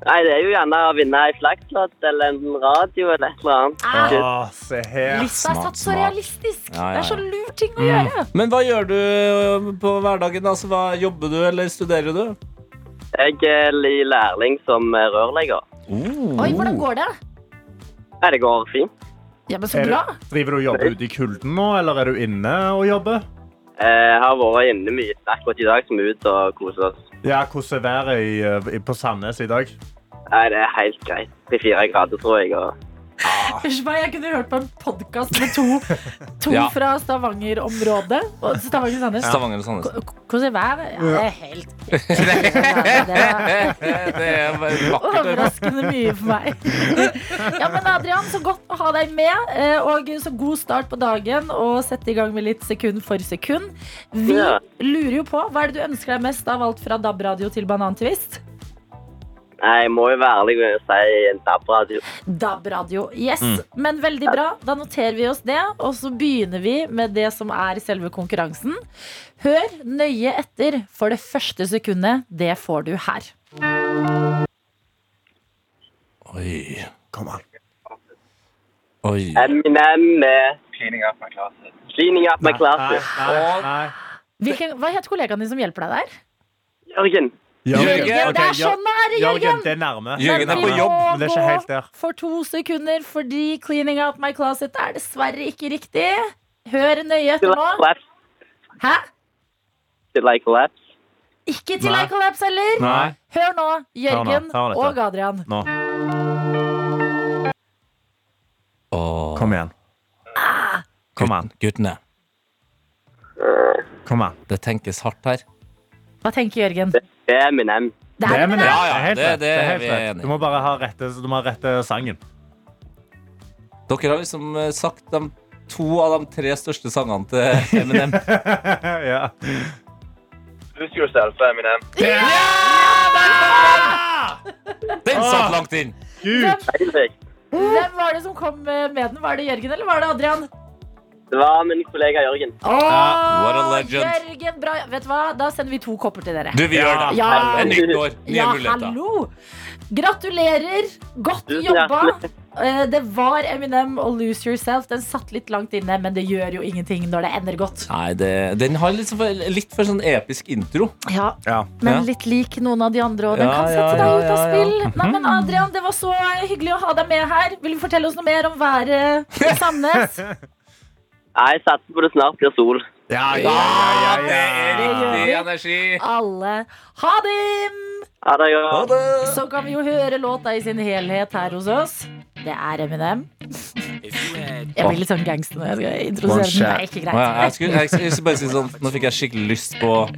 S7: Nei, det er jo gjerne å vinne ei flaggslott eller en radio eller et eller annet.
S2: Ah,
S4: Å, se her.
S2: Lista er
S3: smart,
S2: satt så
S3: smart.
S2: realistisk.
S3: Ja, ja,
S2: Det er så
S3: ja. Mm.
S2: lur ting å gjøre.
S3: Men hva gjør du ø, på hverdagen? Altså, hva Jobber du, eller studerer du?
S7: Jeg er li- lærling som eh, rørlegger.
S2: Oi, hvordan går det?
S7: Nei, det går fint.
S2: Ja, men så
S4: Er
S2: bra.
S4: du, driver du og jobber ute i kulden nå, eller er du inne og jobber?
S7: Jeg Eh, har vært inne mye akkurat i dag, som er ute og koser oss.
S4: Ja, hvordan er været i, eh, i- på Sandnes i dag?
S7: Nei, det er helt greit. Til fire grader, tror jeg. Og
S2: Hysj meg, jeg kunne hørt på en podkast med to, to
S3: Ja.
S2: fra Stavanger-området. og Stavanger-Sandnes.
S3: Stavanger og Sandnes.
S2: K- Hvordan er været? Ja, det er helt Det er
S3: Det er vakkert å høre.
S2: Overraskende mye for meg. Ja, men Adrian, så godt å ha deg med. eh, Og så god start på dagen, og sette i gang med litt sekund for sekund. Vi
S7: Ja.
S2: lurer jo på, hva er det du ønsker deg mest av alt fra DAB-radio til banantvist?
S7: nei, jeg må jo være ærlig og si en DAB-radio.
S2: DAB-radio, yes.
S4: Mm.
S2: Men veldig bra, da noterer vi oss det. Og så begynner vi med det som er selve konkurransen. Hør nøye etter, for det første sekundet, det får du her.
S3: Oi.
S4: Kom an.
S3: Oi.
S7: Eminem med Cleaning Up My Classes.
S4: Nei, nei.
S2: Hvilken, hva het kollegaen din som hjelper deg der?
S7: Jørgen.
S3: Jørgen,
S2: Jørgen, det
S4: Ok,
S2: er sånn det er,
S4: Jørgen,
S2: Jørgen!
S4: det er nærme.
S3: Jørgen er
S2: Men
S3: på
S2: vi
S3: jobb,
S2: må
S4: men det er ikke
S2: gå
S4: helt der.
S2: For to sekunder, fordi 'cleaning out my closet' er dessverre ikke riktig. Hør nøye etter
S7: Still I
S2: nå.
S7: collapse.
S2: Hæ?
S7: Still I collapse.
S2: Ikke til
S4: Nei.
S2: I collapse heller.
S4: Nei.
S2: Hør nå, Jørgen
S4: nå, hør nå etter.
S2: og Adrian.
S4: Nå.
S3: Åh.
S4: Kom igjen. Kom an.
S3: Guttene,
S4: Kom an.
S3: det tenkes hardt her.
S2: Hva tenker Jørgen?
S7: Det er Eminem.
S2: Det er
S4: men
S2: det.
S3: Ja, ja,
S4: er helt
S3: det-
S4: rett.
S3: det
S4: er
S3: er
S4: helt
S3: vi enige
S4: rett.
S3: i.
S4: Du må bare ha rette, du må ha rette sangen.
S3: Dere har liksom eh, sagt de to av de tre største sangene til Eminem.
S4: ja.
S7: Lose yourself, Eminem.
S3: Den satt langt inn!
S4: Gud!
S7: Det
S2: Hvem var det som kom eh, med den? Var det Jørgen eller var det Adrian?
S7: var min kollega Jørgen.
S3: What a
S2: Å,
S3: legend.
S2: Jørgen, bra. Vet du hva? Da sender vi to kopper til dere.
S3: Du, vi gjør det.
S2: Ja.
S3: Det er nytt år, nye
S2: Ja,
S3: muligheter.
S2: hallo! Gratulerer! Godt
S7: Tusen
S2: jobba.
S7: hjertelig.
S2: Eh, Det var Eminem og Lose Yourself. Den satt litt langt inne, men det gjør jo ingenting når det ender godt.
S3: Nei, det, den har litt, for, litt for sånn episk intro.
S2: Ja,
S4: Ja.
S2: Men
S3: Ja.
S2: litt lik noen av de andre, og den
S3: Ja,
S2: kan
S3: ja,
S2: sette deg
S3: ja,
S2: ut av
S3: ja, Mhm.
S2: spill. Nei, men Adrian, det var så hyggelig å ha deg med her. Vil du fortelle oss noe mer om været i Sandnes?
S7: Nei, Jeg satser på det snart blir sol.
S4: Ja, ja, ja, ja,
S3: Ah, Det
S4: ja.
S3: er riktig energi.
S2: Alle ha dem!
S7: Ha det godt.
S2: Så kan vi jo høre låta i sin helhet her hos oss. Det er Eminem. Jeg blir litt sånn gangster når jeg skal
S4: One
S2: introdusere den.
S4: shot.
S2: Det er ikke
S3: Å, ja, Jeg
S2: greit.
S3: skulle, jeg skulle bare si sånn Nå fikk jeg skikkelig lyst på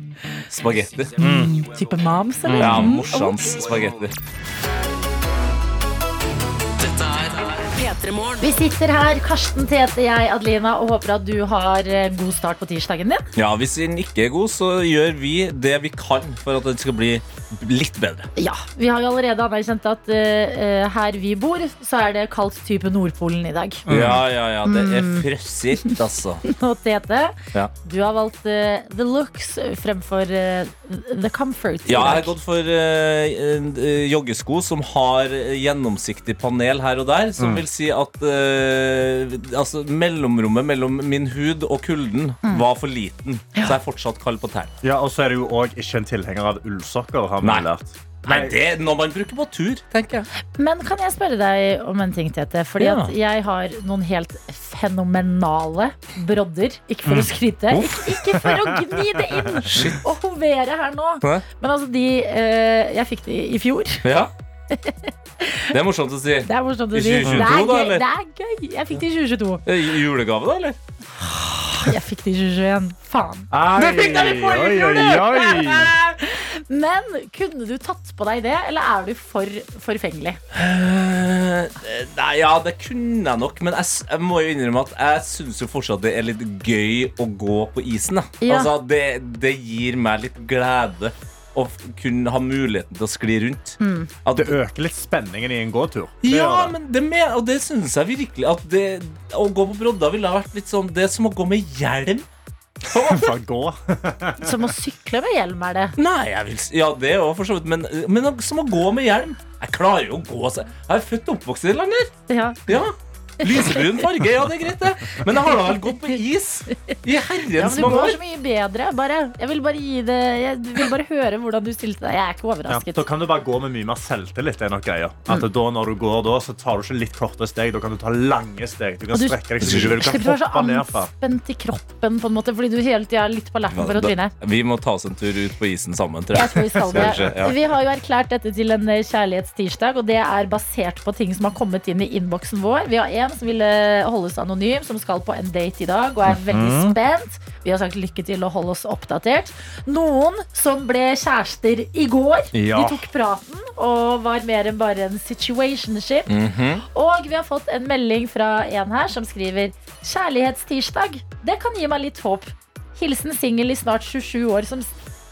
S3: spagetti.
S2: Type moms, eller?
S3: Ja,
S2: Mm.
S3: morsans spagetti.
S1: P3 Morgen.
S2: Vi sitter her, Karsten, Tete, jeg, Adelina, og håper at du har eh, god start på tirsdagen din.
S3: Ja, hvis den ikke er god, så gjør vi det vi kan for at den skal bli litt bedre.
S2: Ja, Vi har jo allerede anerkjent at eh, eh, her vi bor, så er det kaldt type Nordpolen i dag.
S3: Ja, ja, ja. Det er frosset, altså.
S2: Og Tete,
S3: Ja.
S2: du har valgt eh, the looks fremfor eh, the comfort. i
S3: Ja, jeg har
S2: dag.
S3: gått for eh, en, eh, joggesko som har eh, gjennomsiktig panel her og der. Som vil si at eh, altså, mellomrommet mellom min hud og kulden var for liten. Så jeg er fortsatt kald på tærne.
S4: ja og så er du jo òg ikke en tilhenger av ullsokker, har
S3: Nei.
S4: vi lært.
S3: Nei, det er noe man bruker på tur, tenker jeg.
S2: Men kan jeg spørre deg om en ting, Tete? Fordi
S3: Ja.
S2: at jeg har noen helt fenomenale brodder. Ikke
S3: Mm.
S2: for å skryte, ikke, ikke for å gni det inn og hovere her nå.
S3: Hæ?
S2: Men altså, de eh, Jeg fikk de i fjor.
S3: Ja. Det er morsomt å si.
S2: Det er morsomt å
S3: I
S2: si. Det er
S3: 2022 da,
S2: gøy.
S3: eller?
S2: Det er gøy. Jeg fikk de i 2022.
S3: Eh, Julegave, da, eller?
S2: Jeg fikk de i 2021. Faen.
S4: Det fikk dere i forrige uke!
S2: Men kunne du tatt på deg det, eller er du for forfengelig?
S3: Eh, Nei, ja, det kunne jeg nok, men jeg, s- jeg må jo innrømme at jeg syns jo fortsatt det er litt gøy å gå på isen. Da.
S2: Ja.
S3: Altså, det, det gir meg litt glede å f- kunne ha muligheten til å skli rundt. At,
S4: Det øker litt spenningen i en gåtur. Det
S3: ja,
S4: gjør det.
S3: men det med, og det syns jeg virkelig at det, Å gå på brodda ville ha vært litt sånn Det er som å gå med hjelm.
S4: Bare gå.
S2: Som å sykle med hjelm, er det.
S3: Nei, jeg vil, s- ja, det òg, for så vidt, men, men altså. som å gå med hjelm. Jeg klarer jo å gå. så- Jeg er født og oppvokst i det landet.
S2: Ja.
S3: Ja. Lysebrun farge, ja, det er greit, det. Men det har da vel gått på is i
S2: Ja,
S3: herrens
S2: men det
S3: mange
S2: går
S3: år.
S2: så mye bedre. Bare, jeg vil bare gi det Jeg vil bare høre hvordan du stilte deg. Jeg er ikke
S4: Ja,
S2: overrasket.
S4: da kan du bare gå med mye mer selvtillit. Det er nok greia.
S2: Mm.
S4: At da når du går da, så tar du ikke litt korte steg. Da kan du ta lange steg. Du kan
S2: Og du-
S4: strekke deg så mye du vil. Du
S2: Slipper
S4: kan
S2: å være
S4: hoppe
S2: så
S4: ned fra.
S2: anspent i kroppen på en måte, fordi du hele tida er litt på alerten for å tryne.
S3: Vi må ta oss en tur ut på isen sammen, tror
S2: Jeg tror
S3: jeg.
S2: vi skal det.
S3: Kanskje, ja.
S2: Vi har jo erklært dette til en eh, kjærlighetstirsdag, og det er basert på ting som har kommet inn i innboksen vår. Vi har en som ville holdes anonym, som skal på en date i dag og er veldig
S4: Mhm.
S2: spent. Vi har sagt lykke til og hold oss oppdatert. Noen som ble kjærester i går.
S4: Ja.
S2: De tok praten og var mer enn bare en situationship. Og vi har fått en melding fra en her som skriver Kjærlighetstirsdag, det kan gi meg litt håp. Hilsen singel i snart 27 år som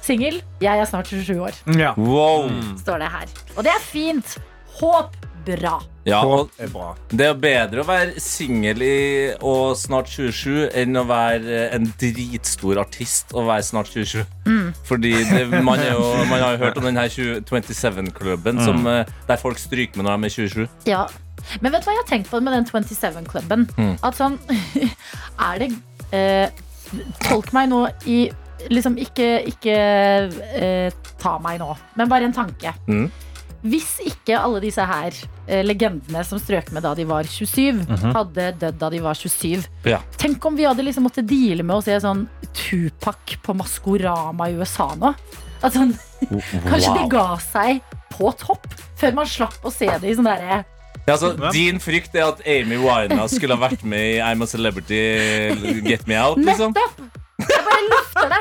S2: singel. Jeg er snart 27 år
S4: Ja.
S3: Wow.
S2: står det her. Og det er fint. Håp bra.
S3: Ja, og
S4: Det er bra.
S3: Det er bedre å være singel i- og snart 27 enn å være eh, en dritstor artist og være snart 27.
S2: Mm.
S3: Fordi det, man, er jo, man har jo hørt om den her 20 27-klubben som, eh, der folk stryker med når de er 27.
S2: Ja. Men vet du hva jeg har tenkt på med den 27-klubben?
S3: Mm.
S2: At sånn Er det eh, Tolk meg nå i Liksom ikke, ikke eh, ta meg nå, men bare en tanke.
S3: Mm.
S2: Hvis ikke alle disse her eh, legendene som strøk med da de var 27, hadde dødd da de var 27
S3: Mhm. Ja.
S2: Tenk om vi hadde liksom måttet deale med å se sånn Tupac på Maskorama i USA nå. At sånn Kanskje de ga seg på topp før man slapp å se det i sånn derre
S3: Ja, altså, din frykt er at Amy Winehouse skulle ha vært med i I'm a Celebrity, Get Me Out. Liksom.
S2: Nettopp! Jeg bare løfter det.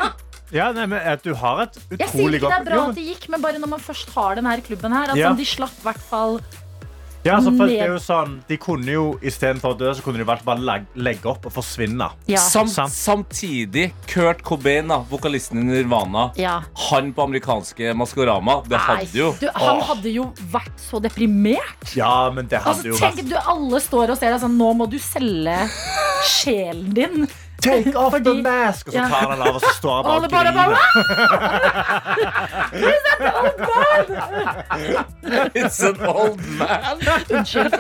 S4: Ja, nei, men at du har et
S2: Jeg sier
S4: utrolig
S2: ikke det er
S4: godt
S2: bra
S4: Jo, men-
S2: at det gikk, men bare når man først har den her klubben her. At
S4: Ja.
S2: sånn, de slapp i hvert fall
S4: Ja, altså, for det er
S2: ned.
S4: jo sånn, De kunne jo istedenfor å dø, så kunne de valgt bare lag- legge opp og forsvinne.
S2: Ja.
S3: Sam,
S4: Sant.
S3: samtidig Kurt Cobain, da, vokalisten i Nirvana,
S2: ja.
S3: han på amerikanske Maskorama, det
S2: Nei,
S3: hadde jo
S2: Du, han
S4: Åh.
S2: hadde jo vært så deprimert.
S4: Ja, men det hadde
S2: Altså,
S4: jo
S2: tenk,
S4: vært
S2: du, alle står og ser deg sånn Nå må du selge sjelen din.
S4: Take off the
S2: fordi-
S4: mask! Og så
S2: Ja.
S4: tar han den av, og så står han
S2: Og alle
S4: bare og
S2: bare bare
S4: griner.
S3: It's an old man.
S2: Unnskyld.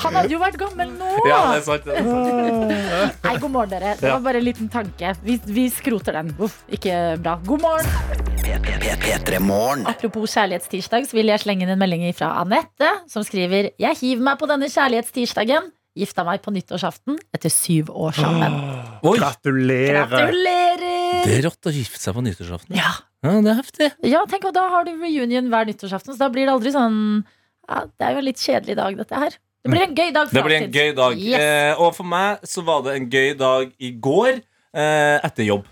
S2: Han hadde jo vært gammel nå.
S3: Ja, det er sant. Det er sant.
S2: Nei, god morgen, dere. Det
S3: Ja.
S2: var bare en liten tanke. Vi, vi skroter den. Uff, ikke bra. God morgen. Apropos kjærlighetstirsdag, så vil jeg slenge inn en melding fra Anette, som skriver Jeg hiver meg på denne kjærlighetstirsdagen. Gifta meg på nyttårsaften etter syv år sammen.
S3: Oi,
S4: Gratulerer.
S2: Gratulerer!
S3: det er rått å gifte seg på nyttårsaften.
S2: Ja.
S3: Ja, det er heftig.
S2: ja, tenk, og da har du reunion hver nyttårsaften, så da blir det aldri sånn ja, Det er jo en litt kjedelig dag, dette her. Det blir en gøy dag.
S3: Det blir en gøy
S2: fremtid.
S3: dag.
S2: Yes.
S3: Eh, og for meg så var det en gøy dag i går eh, etter jobb.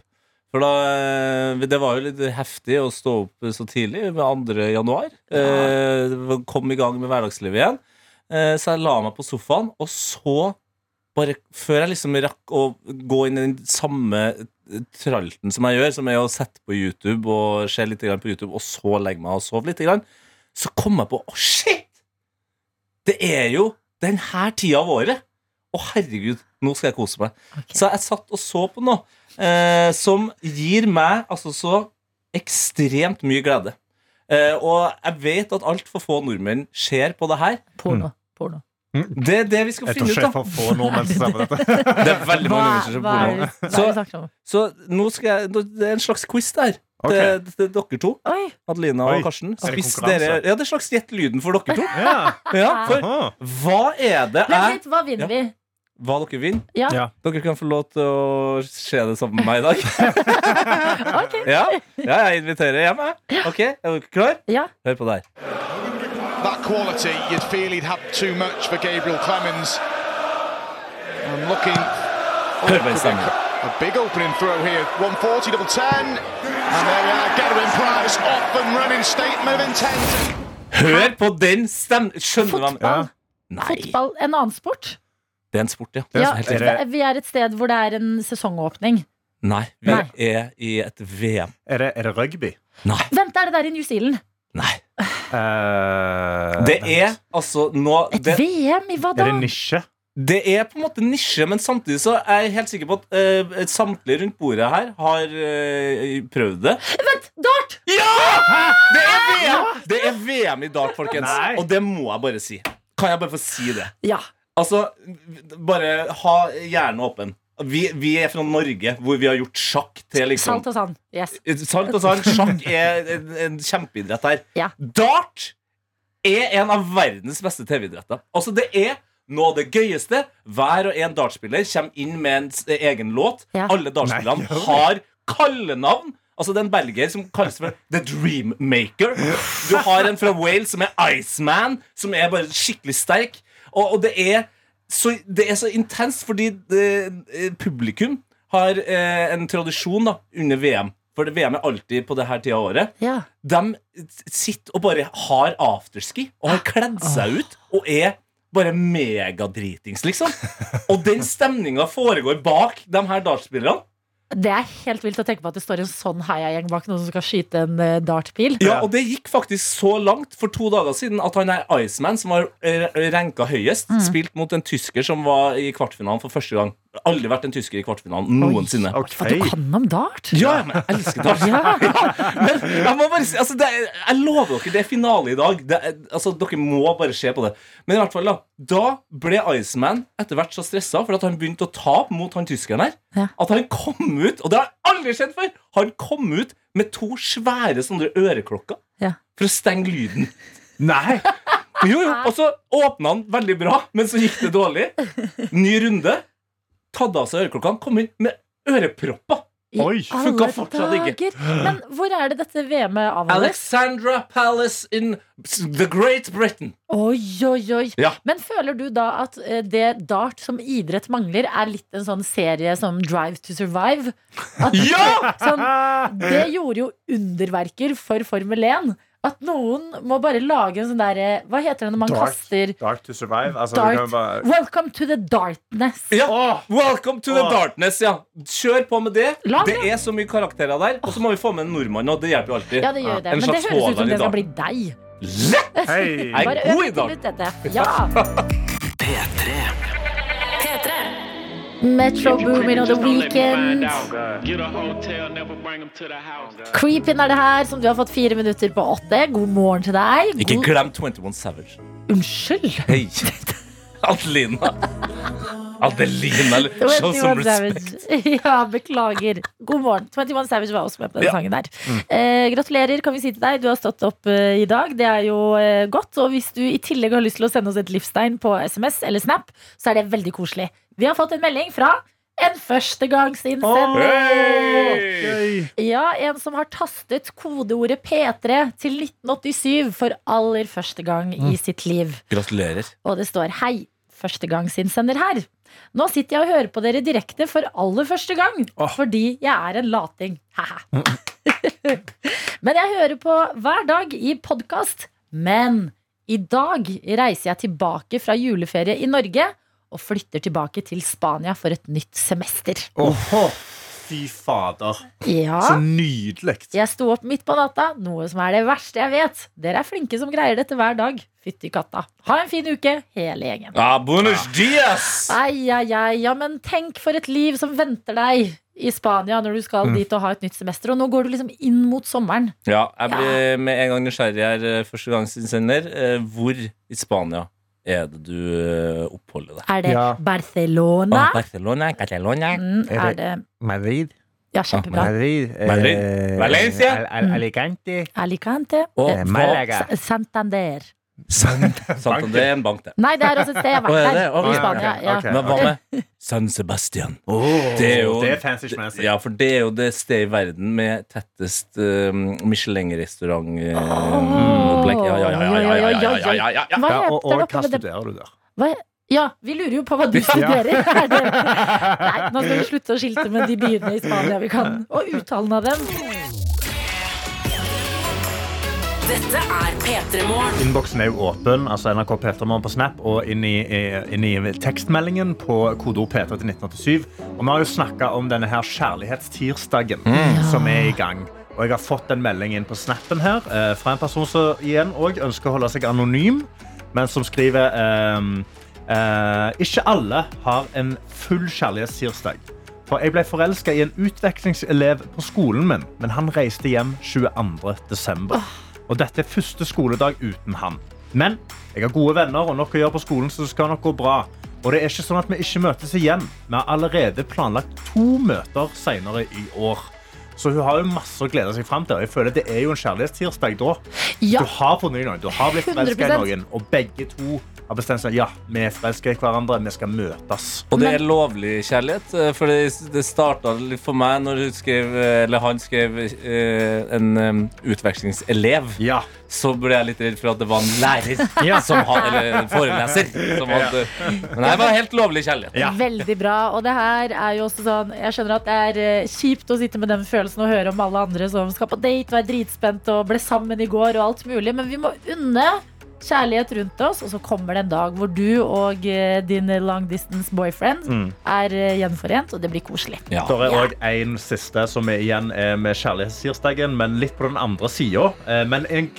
S3: For da, eh, Det var jo litt heftig å stå opp så tidlig, med 2. januar. Eh, det kom i gang med hverdagslivet igjen. Eh, så jeg la meg på sofaen, og så bare Før jeg liksom rakk å gå inn i den samme eh, tralten som jeg gjør, som er å sette på YouTube og se litt grann på YouTube, og så legge meg og sove litt, grann, så kom jeg på Å, shit! Det er jo den her tida av året. Å, herregud, nå skal jeg kose meg.
S2: Ok.
S3: Så jeg satt og så på noe eh, som gir meg altså så ekstremt mye glede. Eh, og jeg vet at altfor få nordmenn ser på det her.
S2: Porno. Porno.
S3: Det er det vi skal
S4: Jeg tror
S3: finne
S4: ikke jeg
S3: ut
S4: får få nordmenn til å se på dette.
S3: av. Det er veldig mange nordmenn som ser på
S2: hva er det hva
S3: porno.
S2: er det
S3: Så-
S2: du snakker om?
S3: Så nå skal jeg, nå- det er en slags quiz der.
S4: Ok.
S3: Det, det, det er dere to,
S2: Oi.
S3: Adelina
S4: Oi,
S3: og Karsten.
S4: er det
S3: Hvis
S4: konkurranse?
S3: dere, ja, det er en slags gjett lyden for dere to.
S4: Ja.
S3: Ja, for
S4: Aha.
S3: hva er det
S2: Vent
S3: jeg
S2: litt, hva vinner vi?
S3: Hva dere vinner?
S2: Ja,
S4: Ja.
S3: Dere kan få lov til å se det sammen med meg i dag.
S2: ok.
S3: Ja, ja jeg inviterer hjem, jeg. Ok, Er dere klar?
S2: Ja.
S3: Hør på det her.
S8: that quality, you'd feel he'd had too much for Gabriel Clemens. I'm looking
S3: Hør på den stemmen.
S8: a big opening throw here. 140 double 10. And there we are, Gabriel Price off and running statement of intent.
S3: Hør på den stemmen! Skjønner du hva
S2: Fotball.
S3: Nei,
S2: Fotball, en annen sport.
S3: det er en sport, ja.
S2: Ja,
S3: Helt
S4: er
S3: riktig.
S4: det-
S2: vi er et sted hvor det er en sesongåpning.
S3: Nei, vi
S2: Nei.
S3: er i et VM.
S4: Er det, er det rugby?
S3: Nei.
S2: Vent, er det der i New Zealand?
S3: Nei.
S4: Eh,
S3: Det er
S4: vent.
S3: altså nå
S2: Et
S3: det,
S2: VM i hva da?
S4: Er det nisje?
S3: det er på en måte nisje, men samtidig så er jeg helt sikker på at eh, samtlige rundt bordet her har eh, prøvd det.
S2: Vent, dart!
S3: Det er VM! Det er VM i dag, folkens.
S4: Nei.
S3: Og det må jeg bare si. Kan jeg bare få si det?
S2: Ja.
S3: Altså, bare ha hjernen åpen. Vi, vi er fra Norge, hvor vi har gjort sjakk til liksom
S2: Salt og sand. Yes.
S3: Sant og sant. Sjakk er en, en kjempeidrett her.
S2: Ja.
S3: Dart er en av verdens beste TV-idretter. Altså, det er noe av det gøyeste. Hver og en dartspiller kommer inn med en s- egen låt.
S2: Ja.
S3: Alle dartspillerne har kallenavn. Altså, det er en belgier som kalles for The Dreammaker. Du har en fra Wales som er Iceman, som er bare skikkelig sterk. Og, og det er så, det er så intenst fordi eh, eh, publikum har eh, en tradisjon da, under VM. For det- VM er alltid på denne tida av året.
S2: Ja.
S3: De sitter og bare har afterski og har kledd seg ut og er bare megadritings, liksom. Og den stemninga foregår bak de her dartspillerne.
S2: Det er helt vilt å tenke på at det står en sånn heiagjeng bak noen som skal skyte en eh, dartpil.
S3: Ja, og det gikk faktisk så langt for to dager siden at han her Iceman, som var eh, ranka høyest, spilte mot en tysker som var i kvartfinalen for første gang. Aldri vært en tysker i kvartfinalen noensinne.
S2: At du
S4: OK.
S2: kan om dart?
S3: Ja, men jeg elsker dart. Men jeg må bare si altså, det er, Jeg lover dere, det er finale i dag. Det er, altså, dere må bare se på det. Men i hvert fall da Da ble Iceman etter hvert så stressa for at han begynte å tape mot han tyskeren her,
S2: Ja.
S3: at han kom ut Og det har jeg aldri skjedd før! Han kom ut med to svære sånne øreklokker
S2: Ja.
S3: for å stenge lyden.
S4: Nei!
S3: Jo, jo, Og så åpna han veldig bra, men så gikk det dårlig. Ny runde. Tatt av seg øreklokkene, kom inn med ørepropper.
S2: I
S4: Oi,
S2: alle
S3: funka fortsatt ikke.
S2: dager. Men hvor er det dette VM-et avholdes?
S3: Alexandra Palace in the Great Britain.
S2: Oi, oi, oi.
S3: Ja.
S2: Men føler du da at eh, det dart som idrett mangler, er litt en sånn serie som Drive to Survive? At
S3: Ja!
S2: sånn, det gjorde jo underverker for Formel 1. At noen må bare lage en sånn der eh, Hva heter det når man
S4: Dart.
S2: kaster
S4: Dark to survive. Altså, du
S2: dart?
S4: kan bare...
S2: Welcome to the darkness.
S4: Åh!
S3: Welcome to the
S4: Åh.
S3: darkness, ja. Kjør på med det.
S2: Lag
S3: Det
S2: det.
S3: er så mye karakterer der. Og så må vi få med en nordmann, og det hjelper jo alltid.
S2: Ja, det gjør jo det.
S3: En
S2: Men det
S3: slags
S2: høres ut som
S3: Haaland i
S2: det skal
S3: dag.
S2: bli deg.
S3: Lett!
S4: Hei!
S3: Jeg
S2: Bare
S3: er
S2: øv
S3: god i
S2: litt
S3: dag.
S2: ut dette. Ja.
S1: P3.
S2: Metro Boomin og The Weekend. Creepin er det her, som du har fått fire minutter på åtte. God morgen til deg. God...
S3: Ikke glem 21 Savage.
S2: Unnskyld.
S3: Hei. Adelina. Adelina. eller sånn Show some
S2: 21
S3: respect.
S2: Savage. Ja, beklager. God morgen. 21 Savage var også med på den
S3: Ja. Mm.
S2: sangen der. Eh, gratulerer, kan vi si til deg. Du har stått opp eh, i dag. Det er jo eh, godt. Og hvis du i tillegg har lyst til å sende oss et livstegn på SMS eller Snap, så er det veldig koselig. Vi har fått en melding fra en førstegangsinnsender.
S3: Hei!
S4: Gøy.
S2: Ja, en som har tastet kodeordet P3 til 1987 for aller første gang i sitt liv.
S3: Gratulerer.
S2: Og det står 'Hei, førstegangsinnsender her'. Nå sitter jeg og hører på dere direkte for aller første gang, fordi jeg er en lating. Haha. Men jeg hører på hver dag i podkast. Men i dag reiser jeg tilbake fra juleferie i Norge og flytter tilbake til Spania for et nytt semester.
S4: Åhå. Fy fader.
S2: Ja.
S4: Så nydelig.
S2: Jeg sto opp midt på natta, noe som er det verste jeg vet. Dere er flinke som greier dette hver dag. Fytti katta. Ha en fin uke, hele gjengen.
S3: Ah, buenos dias!
S2: Ai, ai, ai. Ja, men tenk for et liv som venter deg i Spania når du skal dit og ha et nytt semester. Og nå går du liksom inn mot sommeren.
S3: Ja, jeg blir med en gang nysgjerrig her, eh, førstegangsinnsender. Eh, Hvor i Spania er det du eh, oppholder deg?
S2: Er det
S5: Ja.
S2: Barcelona?
S3: Ah, Barcelona, Catalona
S2: Mm,
S5: Er
S2: er det
S5: Madrid.
S2: Ja,
S9: Ah.
S2: kjempebra.
S5: Madrid. eh,
S3: Madrid. Valencia.
S5: Al-
S9: Mm.
S5: Al- Alicante.
S2: Alicante.
S3: Og
S2: Eh,
S5: Malaga.
S2: Sa- Santander.
S3: Santander er en bank, det.
S2: Nei, det er også et sted jeg har
S3: Å, er
S2: vært
S3: det?
S2: der.
S3: Å,
S2: I
S3: ja,
S2: Spania.
S4: ok,
S2: Ja.
S4: ok.
S3: Men hva med San Sebastian? Det er jo-
S4: Det er fancy schmancy.
S3: Ja, for det er jo det stedet i verden med tettest eh, Michelin-restaurant eh,
S2: Åh.
S3: opplegg. Ja, ja, ja, ja, ja, ja, ja, ja, ja, ja, ja.
S2: Hva
S4: Ja, og,
S2: heter
S4: og
S2: det
S4: hva
S2: oppe ved det?
S4: studerer du der?
S2: Hva? Ja, vi lurer jo på hva du studerer. Er det... Nei, nå skal vi slutte å skilte med de byene i Spania vi kan, og uttalen av dem.
S1: Dette er P3 Morgen.
S4: Innboksen er jo åpen, altså NRK Petermann på Snap og inn i, i- inn i tekstmeldingen på kodeord P3 til 1987. Og vi har jo snakka om denne her kjærlighetstirsdagen som er i gang. Og jeg har fått en melding inn på Snappen her eh, fra en person som igjen også ønsker å holde seg anonym, men som skriver ehm, eh, Ikke alle har en full kjærlighetstirsdag. For jeg ble forelska i en utvekslingselev på skolen min, men han reiste hjem 22. desember. Og dette er første skoledag uten han. Men jeg har gode venner og nok å gjøre på skolen, så det skal nok gå bra. Og det er ikke sånn at vi ikke møtes igjen. Vi har allerede planlagt to møter senere i år. Så hun har jo masse å glede seg fram til. og Jeg føler Det er jo en kjærlighetstirsdag da.
S2: Ja.
S4: Du har funnet noen, du har blitt forelska i
S2: 100%.
S4: noen, og begge to har bestemt seg ja, vi er forelska i hverandre, vi skal møtes.
S3: Og det er lovlig kjærlighet, eh, for det, det starta litt for meg når hun skrev, eh, eller han skrev eh, en em, utvekslingselev.
S4: Ja.
S3: Så ble jeg litt redd for at det var en lærer, som ha- eller en foreleser. Som hadde, men det her var helt lovlig kjærlighet.
S4: Ja.
S2: Veldig bra. Og det her er jo også sånn Jeg skjønner at det er eh, kjipt å sitte med den følelsen og høre om alle andre som skal på date, være dritspent og ble sammen i går og alt mulig, men vi må unne kjærlighet rundt oss, og så kommer det en dag hvor du og eh, din long distance boyfriend er eh, gjenforent, og det blir koselig.
S3: Ja.
S4: Der er òg en siste som er igjen er med kjærlighetstirsdagen, men litt på den andre sida. Men en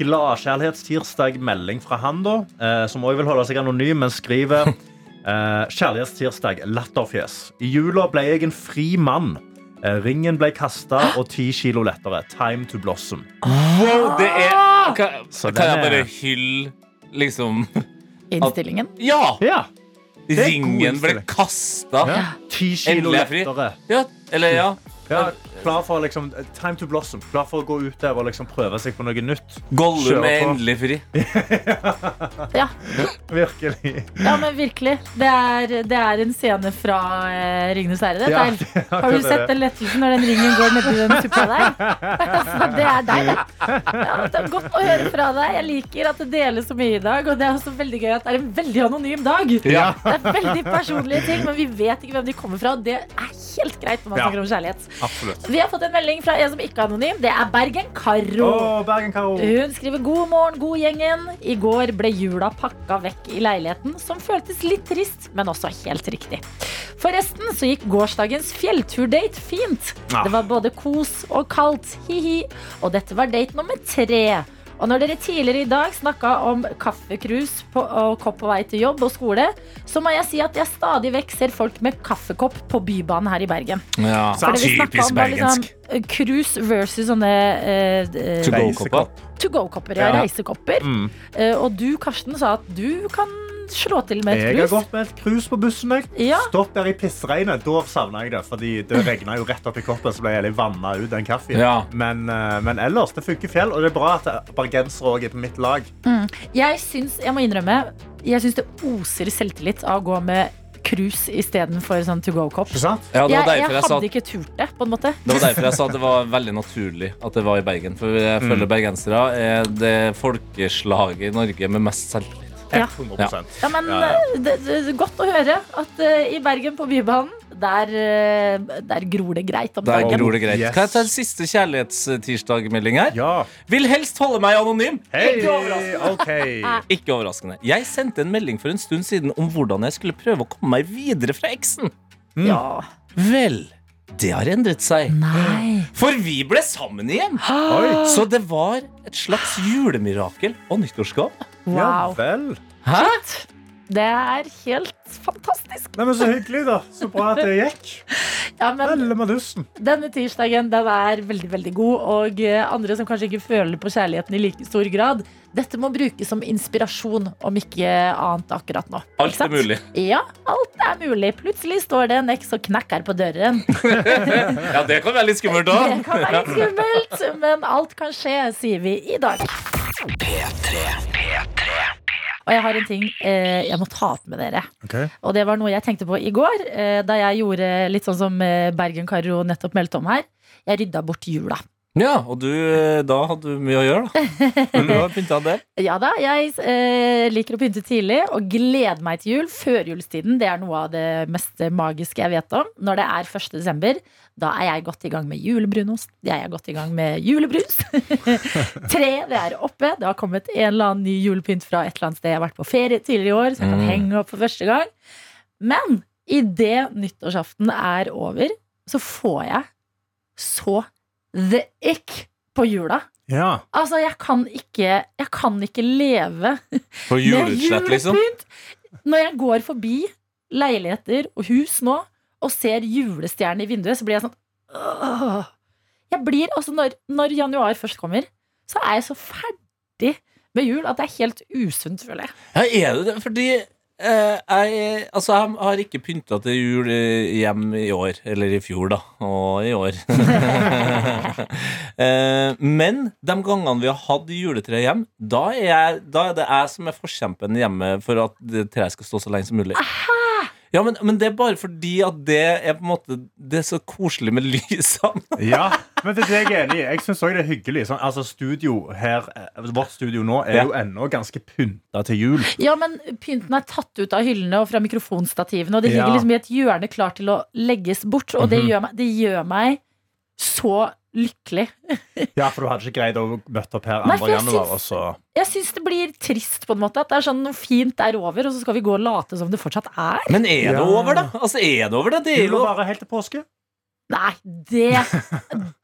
S4: gladkjærlighetstirsdag-melding fra han, da, eh, som òg vil holde seg anonym, men skriver eh, Kjærlighetstirsdag, latterfjes. I jula ble jeg en fri mann. Eh, Ringen ble kasta og ti kilo lettere. Time to blossom.
S3: Wow, det er
S4: Ah!
S3: Kan,
S4: Så
S3: kan jeg
S4: den er-
S3: bare hylle liksom
S2: Innstillingen.
S3: Ja!
S4: Ja. er god
S3: Ringen ble
S4: innstilling.
S3: kasta.
S4: Ti kilo
S3: Endelig er jeg fri.
S4: lettere.
S3: Ja, eller ja.
S4: Ja, klar for liksom, time to blossom. Klar for å gå ut der og liksom prøve seg på noe nytt. Kjør
S3: Gollum er
S4: på.
S3: endelig fri.
S2: Ja.
S4: Virkelig.
S2: Ja, men virkelig. Det er, det er en scene fra eh, 'Ringenes herre'. dette
S4: Ja,
S2: her.
S4: det er
S2: Har du
S4: akkurat
S2: sett
S4: det.
S2: den lettelsen når den ringen går nedi den suppa der? altså, det er deg, det. Ja, det er godt å høre fra deg. Jeg liker at det deles så mye i dag. Og det er også veldig gøy at det er en veldig anonym dag.
S3: Ja.
S2: Det er veldig personlige ting, men vi vet ikke hvem de kommer fra. Og det er helt greit når man
S4: Ja.
S2: snakker om kjærlighet.
S4: Absolutt.
S2: Vi har fått en melding fra en som ikke er anonym. Det er Bergen-Caro.
S4: Å, Bergen-Karo.
S2: Hun skriver god morgen, god gjengen. I går ble jula pakka vekk i leiligheten, som føltes litt trist, men også helt riktig. Forresten så gikk gårsdagens fjellturdate fint.
S4: Ah.
S2: Det var både kos og kaldt, hi-hi. Og dette var date nummer tre. Og når dere tidligere i dag snakka om kaffekrus på, og kopp på vei til jobb og skole, så må jeg si at jeg stadig vekk ser folk med kaffekopp på Bybanen her i Bergen.
S3: Ja.
S2: For det vi snakket om var liksom, eh, Krus versus sånne eh, eh,
S3: To go-kopper.
S2: to go-kopper, ja,
S4: Ja.
S2: reisekopper. Eh, og du, Karsten, sa at du kan slå til med
S4: Jeg
S2: et
S4: har
S2: krus.
S4: gått med et krus på bussen. Jeg.
S2: Ja.
S4: Stopp der i pissregnet. Da savna jeg det. Fordi det regna jo rett opp i koppen, så ble jeg litt vanna ut den kaffen.
S3: Ja.
S4: Men, eh, men ellers, det funker fjell. Og det er bra at bergensere òg er på mitt lag.
S2: Jeg syns, jeg må innrømme, jeg syns det oser selvtillit av å gå med krus istedenfor sånn to go-kopp.
S4: Ikke sant?
S3: Ja, det
S2: Jeg,
S3: var
S2: jeg
S3: derfor jeg sa
S2: hadde
S3: at
S2: ikke turt det, på en måte.
S3: Det var derfor jeg sa at det var veldig naturlig at det var i Bergen. For jeg
S4: Mm.
S3: føler bergensere er det folkeslaget i Norge med mest selvtillit.
S2: Ja.
S4: 100
S2: Ja, men
S4: Ja, ja.
S2: eh, Det, det, det er godt å høre at eh, i Bergen, på Bybanen, der, eh, der gror det greit om
S3: Der
S2: dagen.
S3: gror det greit.
S4: Yes.
S3: Kan jeg ta en siste kjærlighetstirsdag-melding her?
S4: Ja.
S3: Vil helst holde meg anonym.
S4: Hei!
S3: Ikke overraskende.
S4: OK.
S2: Ah,
S3: Ikke overraskende. Jeg sendte en melding for en stund siden om hvordan jeg skulle prøve å komme meg videre fra eksen.
S2: Ja.
S3: Vel, det har endret seg.
S2: Nei.
S3: For vi ble sammen igjen.
S4: Oi.
S3: Så det var et slags julemirakel og nyttårsgave.
S4: Ja
S2: Wow.
S4: vel.
S3: Hæ?
S2: Det er helt fantastisk.
S4: Nei, men Så hyggelig, da. Så bra at det gikk.
S2: Ja, men
S4: Helle madussen.
S2: Denne tirsdagen den er veldig veldig god, og eh, andre som kanskje ikke føler på kjærligheten i like stor grad, dette må brukes som inspirasjon, om ikke annet akkurat nå. Ikke
S3: Alt
S2: sant?
S3: er mulig.
S2: Ja, alt er mulig. Plutselig står det en eks og knakker på døren.
S3: Ja, det kan være litt skummelt
S2: Det
S3: òg.
S2: kan være litt skummelt, men alt kan skje, sier vi i dag. Og jeg har en ting eh, jeg må ta opp med dere. Og det var noe jeg tenkte på i går, eh, da jeg gjorde litt sånn som eh, Bergen-Karo nettopp meldte om her. Jeg rydda bort jula.
S3: Ja, og du, eh, da hadde du mye å gjøre, da. Men du har pynta en del.
S2: Ja da, jeg eh, liker å pynte tidlig og gleder meg til jul. Førjulstiden det er noe av det mest magiske jeg vet om. Når det er 1. desember, da er jeg godt i gang med julebrunost. Da er jeg godt i gang med julebrus. Tre, det er oppe. Det har kommet en eller annen ny julepynt fra et eller annet sted jeg har vært på ferie tidligere i år, så jeg kan
S3: Mm.
S2: henge opp for første gang. Men idet nyttårsaften er over, så får jeg så the ick på jula.
S4: Ja.
S2: Altså, jeg kan ikke, jeg kan ikke leve
S3: På
S2: med
S3: juleutslett, liksom.
S2: julepynt. Når jeg går forbi leiligheter og hus nå og ser julestjerner i vinduet, så blir jeg sånn «Åh». Jeg blir, altså når, når januar først kommer, så er jeg så ferdig med jul at det er helt usunt, føler jeg.
S3: Ja, er du det? Fordi Eh, jeg, altså, jeg har ikke pynta til jul eh, hjem i år. Eller i fjor, da. Og i år. eh, men de gangene vi har hatt juletre hjem, da er, jeg, da er det jeg som er forkjempen hjemme for at det treet skal stå så lenge som mulig. Ja, men, men det er bare fordi at det er på en måte Det er så koselig med lysene.
S4: Ja, men det er jeg enig i. Jeg syns òg det er hyggelig. Sånn, altså studio her, eh, Vårt studio nå er
S3: Ja.
S4: jo ennå ganske pynta til jul.
S2: Ja, men Pynten er tatt ut av hyllene og fra mikrofonstativene, og det
S4: Ja.
S2: ligger liksom i et hjørne klar til å legges bort. Og det gjør meg, det gjør meg så lykkelig.
S4: Ja, for du hadde ikke greid å møte opp her
S2: Nei, for
S4: 2.
S2: jeg
S4: januar,
S2: syns-
S4: altså. og så
S2: Jeg syns det blir trist, på en måte. At det er sånn noe fint er over, og så skal vi gå og late som det fortsatt er.
S3: Men er det
S4: Ja.
S3: over, da? Altså, er det over, da? Det er
S4: Jul
S3: jo
S4: var bare helt til påske.
S2: Nei, det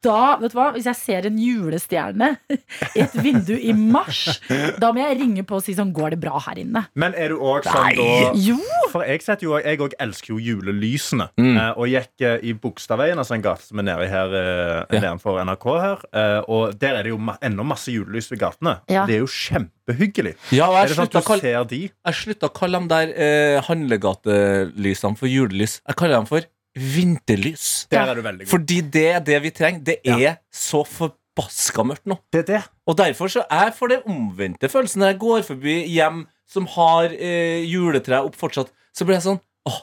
S2: Da, vet du hva, hvis jeg ser en julestjerne i et vindu i mars, da må jeg ringe på og si sånn Går det bra her inne?
S4: Men er du òg sånn da
S2: Jo!
S4: For jeg setter jo Jeg òg elsker jo julelysene.
S3: Mm.
S4: Eh, og gikk eh, i Bogstadveien, altså en gate som er nede her eh,
S3: Ja.
S4: nedenfor NRK her. Eh, og der er det jo ma ennå masse julelys ved gatene.
S2: Ja.
S4: Det er jo kjempehyggelig.
S3: Ja, og
S4: Er
S3: jeg
S4: det sånn
S3: slutta å
S4: at du
S3: kalle
S4: ser de?
S3: Jeg slutta å kalle dem der eh, handlegatelysene for julelys. Jeg kaller dem for vinterlys.
S4: Der er du veldig god.
S3: Fordi det er det vi trenger. Det er så forbaska mørkt nå.
S4: Det er det.
S3: Og derfor så er jeg for den omvendte følelsen når jeg går forbi hjem som har eh, juletre opp fortsatt, så blir jeg sånn åh,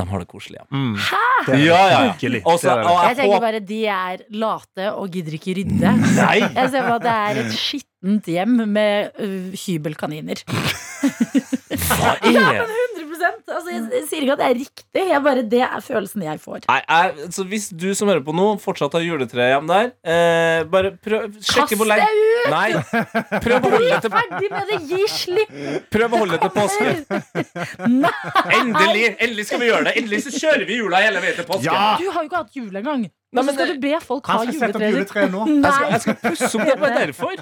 S3: de har det koselig hjemme.
S6: Mm.
S4: Det er
S3: Ja, ja, ja.
S4: hyggelig.
S3: Og så-
S4: Det er det.
S3: og
S2: Jeg
S3: jeg
S2: tenker
S3: håper
S2: bare de er late og gidder ikke rydde.
S3: Nei!
S2: Jeg ser på at det er et skittent hjem med øh, hybelkaniner.
S3: Hva er
S2: 100 altså, jeg, jeg sier ikke at det er riktig, jeg bare, det er følelsen jeg får.
S3: Nei, jeg, så Hvis du som hører på nå, fortsatt har juletre hjem der, eh, bare prøv
S2: Kast
S3: sjekke hvor
S2: deg
S3: lenge
S2: ut!
S3: Nei! Prøv å holde det til,
S2: Ferdig med det! Gi slipp!
S3: prøv å holde det til påske.
S2: Nei,
S3: Endelig endelig skal vi gjøre det! Endelig så kjører vi jula hele veien til påske.
S4: Ja!
S2: du har jo ikke hatt jul engang.
S3: Nei,
S2: Og så
S3: men
S2: skal
S3: det-
S2: du be folk ha
S4: Han skal sette opp
S2: juletre.
S4: juletre nå.
S3: Jeg skal,
S2: Nei.
S3: jeg skal pusse opp det bare derfor.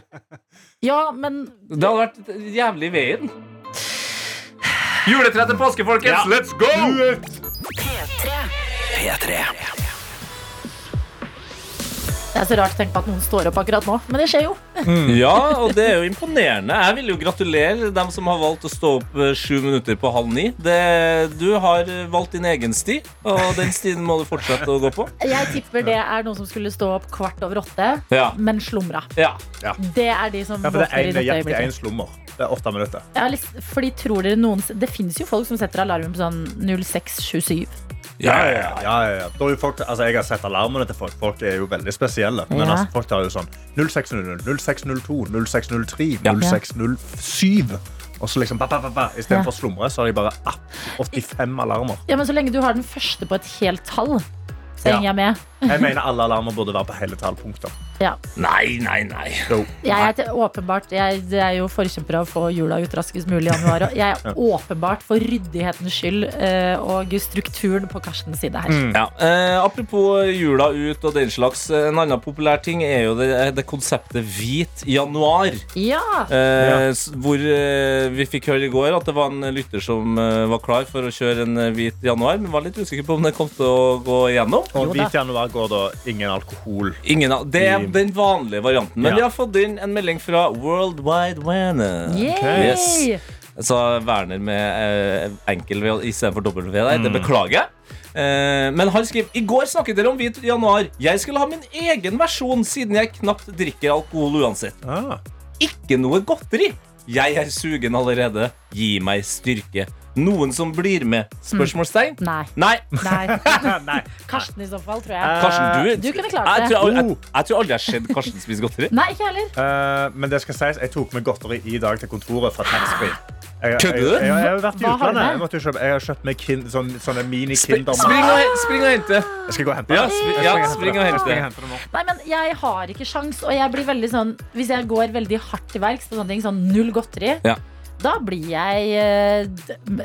S2: Ja, men
S3: Det hadde vært jævlig i veien. Juletre til påske, folkens! Let's go!
S2: Det er så rart å tenke på at noen står opp akkurat nå, men det skjer jo.
S3: Ja, og det er jo imponerende. Jeg vil jo gratulere dem som har valgt å stå opp eh, sju minutter på halv ni. Det, du har eh, valgt din egen sti, og den stien må du fortsette å gå på.
S2: Jeg tipper det er noen som skulle stå opp kvart over åtte,
S3: Ja.
S2: men slumra.
S3: Ja.
S2: Det er de som
S4: Ja, for det
S2: våkner
S4: er
S2: i
S4: én
S2: dette
S4: jakt i
S2: øyeblikket.
S4: én slummer. Det er åtte minutter.
S2: Jeg har lyst, fordi tror dere noen, Det finnes jo folk som setter alarmen på sånn 0627.
S4: Ja, ja, ja, ja, ja. Da er jo folk, altså, jeg har sett alarmene til folk. Folk er jo veldig spesielle. Men
S2: Ja.
S4: altså, folk tar jo sånn 0600, 0602, 0603,
S3: Ja.
S4: 0607. Og så liksom ba, ba, ba, ba.
S2: Ja.
S4: Istedenfor å slumre, så har de bare ah, 85 alarmer.
S2: Ja, men så lenge du har den første på et helt tall, så
S4: Ja.
S2: henger jeg med.
S4: Jeg mener alle alarmer burde være på hele tallpunkter.
S2: Ja.
S3: Nei, nei, nei.
S4: Jo.
S2: Jeg er til, åpenbart jeg, jeg er jo forkjemper av å få jula ut raskest mulig i januar. Og jeg er åpenbart for ryddighetens skyld eh, og strukturen på Karstens side her.
S3: Ja. Eh, apropos jula ut og den slags. eh, En annen populær ting er jo det, eh, det konseptet hvit januar.
S2: Ja!
S3: Eh, s- Hvor eh, vi fikk høre i går at det var en lytter som eh, var klar for å kjøre en eh, hvit januar, men var litt usikker på om det kom til å gå igjennom.
S2: Jo
S4: Og
S2: da.
S4: hvit januar går da ingen alkohol.
S3: Ingen av, det er den vanlige varianten. Men
S4: Ja.
S3: vi har fått inn en melding fra World Wide Werner.
S2: Yay!
S3: Yes. Så Werner med eh, enkel V istedenfor W der. Det
S4: Mm.
S3: beklager jeg. Eh, men han skriver I går snakket dere om hvit januar. Jeg skulle ha min egen versjon, siden jeg knapt drikker alkohol uansett.
S4: Ah.
S3: Ikke noe godteri. Jeg er sugen allerede. Gi meg styrke. Noen som blir med? Spørsmålstegn?
S2: Nei.
S3: Nei.
S2: Nei.
S4: Nei.
S2: Karsten i så fall, tror jeg.
S3: Karsten, du,
S2: Du kunne klart det.
S3: Jeg tror, jeg, jeg,
S4: Oh.
S3: jeg tror aldri jeg har sett Karsten spise godteri.
S2: Nei, ikke jeg heller.
S4: Eh, men det skal sies, jeg tok med godteri i dag til kontoret fra taxfree. Jeg, jeg,
S3: Kødder du?
S4: jeg, jeg, jeg har jo vært i
S2: Hva har du
S4: utlandet.
S2: med?
S4: Jeg, måtte jo kjøpe, jeg har kjøpt meg kin, sånn, sånne
S3: Spring,
S4: mini-kinder.
S3: spring, og, spring og hente.
S4: Jeg skal gå og hente
S3: Ja,
S4: det.
S3: spri-
S4: Jeg
S3: ja,
S4: skal
S3: spring og hente.
S4: Jeg skal hente det nå.
S2: Nei, men jeg har ikke sjans, og jeg blir veldig sånn Hvis jeg går veldig hardt til verks på sånne ting, sånn null godteri,
S3: Ja.
S2: da blir jeg eh, d- m-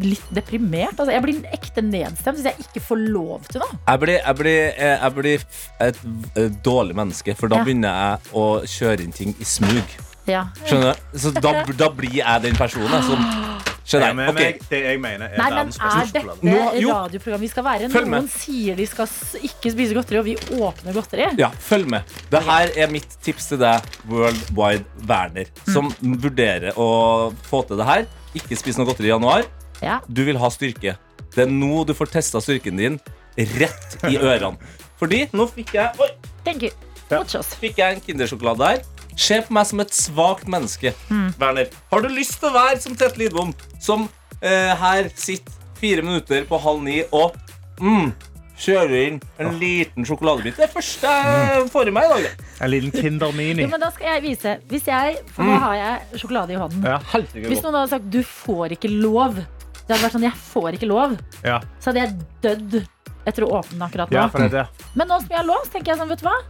S2: litt deprimert. Altså, jeg blir ekte nedstemt hvis jeg ikke får lov til noe.
S3: Jeg blir, jeg blir, eh, jeg blir f- et eh, dårlig menneske, for da
S2: Ja.
S3: begynner jeg å kjøre inn ting i smug.
S2: Ja.
S3: Skjønner du? Så da, da blir jeg den personen jeg, som
S4: Jeg er
S3: Skjønner
S4: med
S3: jeg?
S4: meg. Det jeg mener, er
S2: Nei, men
S4: verdens
S2: er
S4: beste
S2: dette
S4: sjokolade.
S3: Nå- jo.
S2: radioprogram vi skal være?
S3: Følg med.
S2: Noen sier de skal s- ikke spise godteri, og vi åpner godteri.
S3: Ja, følg med. Det her er mitt tips til deg, World Wide Werner, som vurderer å få til det her. Ikke spis noe godteri i januar.
S2: Ja.
S3: Du vil ha styrke. Det er nå du får testa styrken din rett i ørene. Fordi nå fikk jeg Oi!
S2: Thank you. Watch us.
S3: fikk jeg en kindersjokolade her. Se på meg som et svakt menneske,
S2: Mm.
S3: Werner. Har du lyst til å være som Tete Lidbom, som eh, her sitter fire minutter på halv ni og mm, kjører inn en liten sjokoladebit? Det er første jeg får i meg i dag. det.
S4: En liten Kinder Mini.
S2: Jo, men da skal jeg vise. Hvis jeg, for nå har jeg sjokolade i hånden.
S4: Ja.
S2: Hvis noen hadde sagt 'du får ikke lov', det hadde vært sånn 'jeg får ikke lov',
S4: Ja.
S2: så hadde jeg dødd etter å åpne den akkurat nå.
S4: ja, for det er det.
S2: Men nå som jeg har lov, så tenker jeg sånn, vet du hva?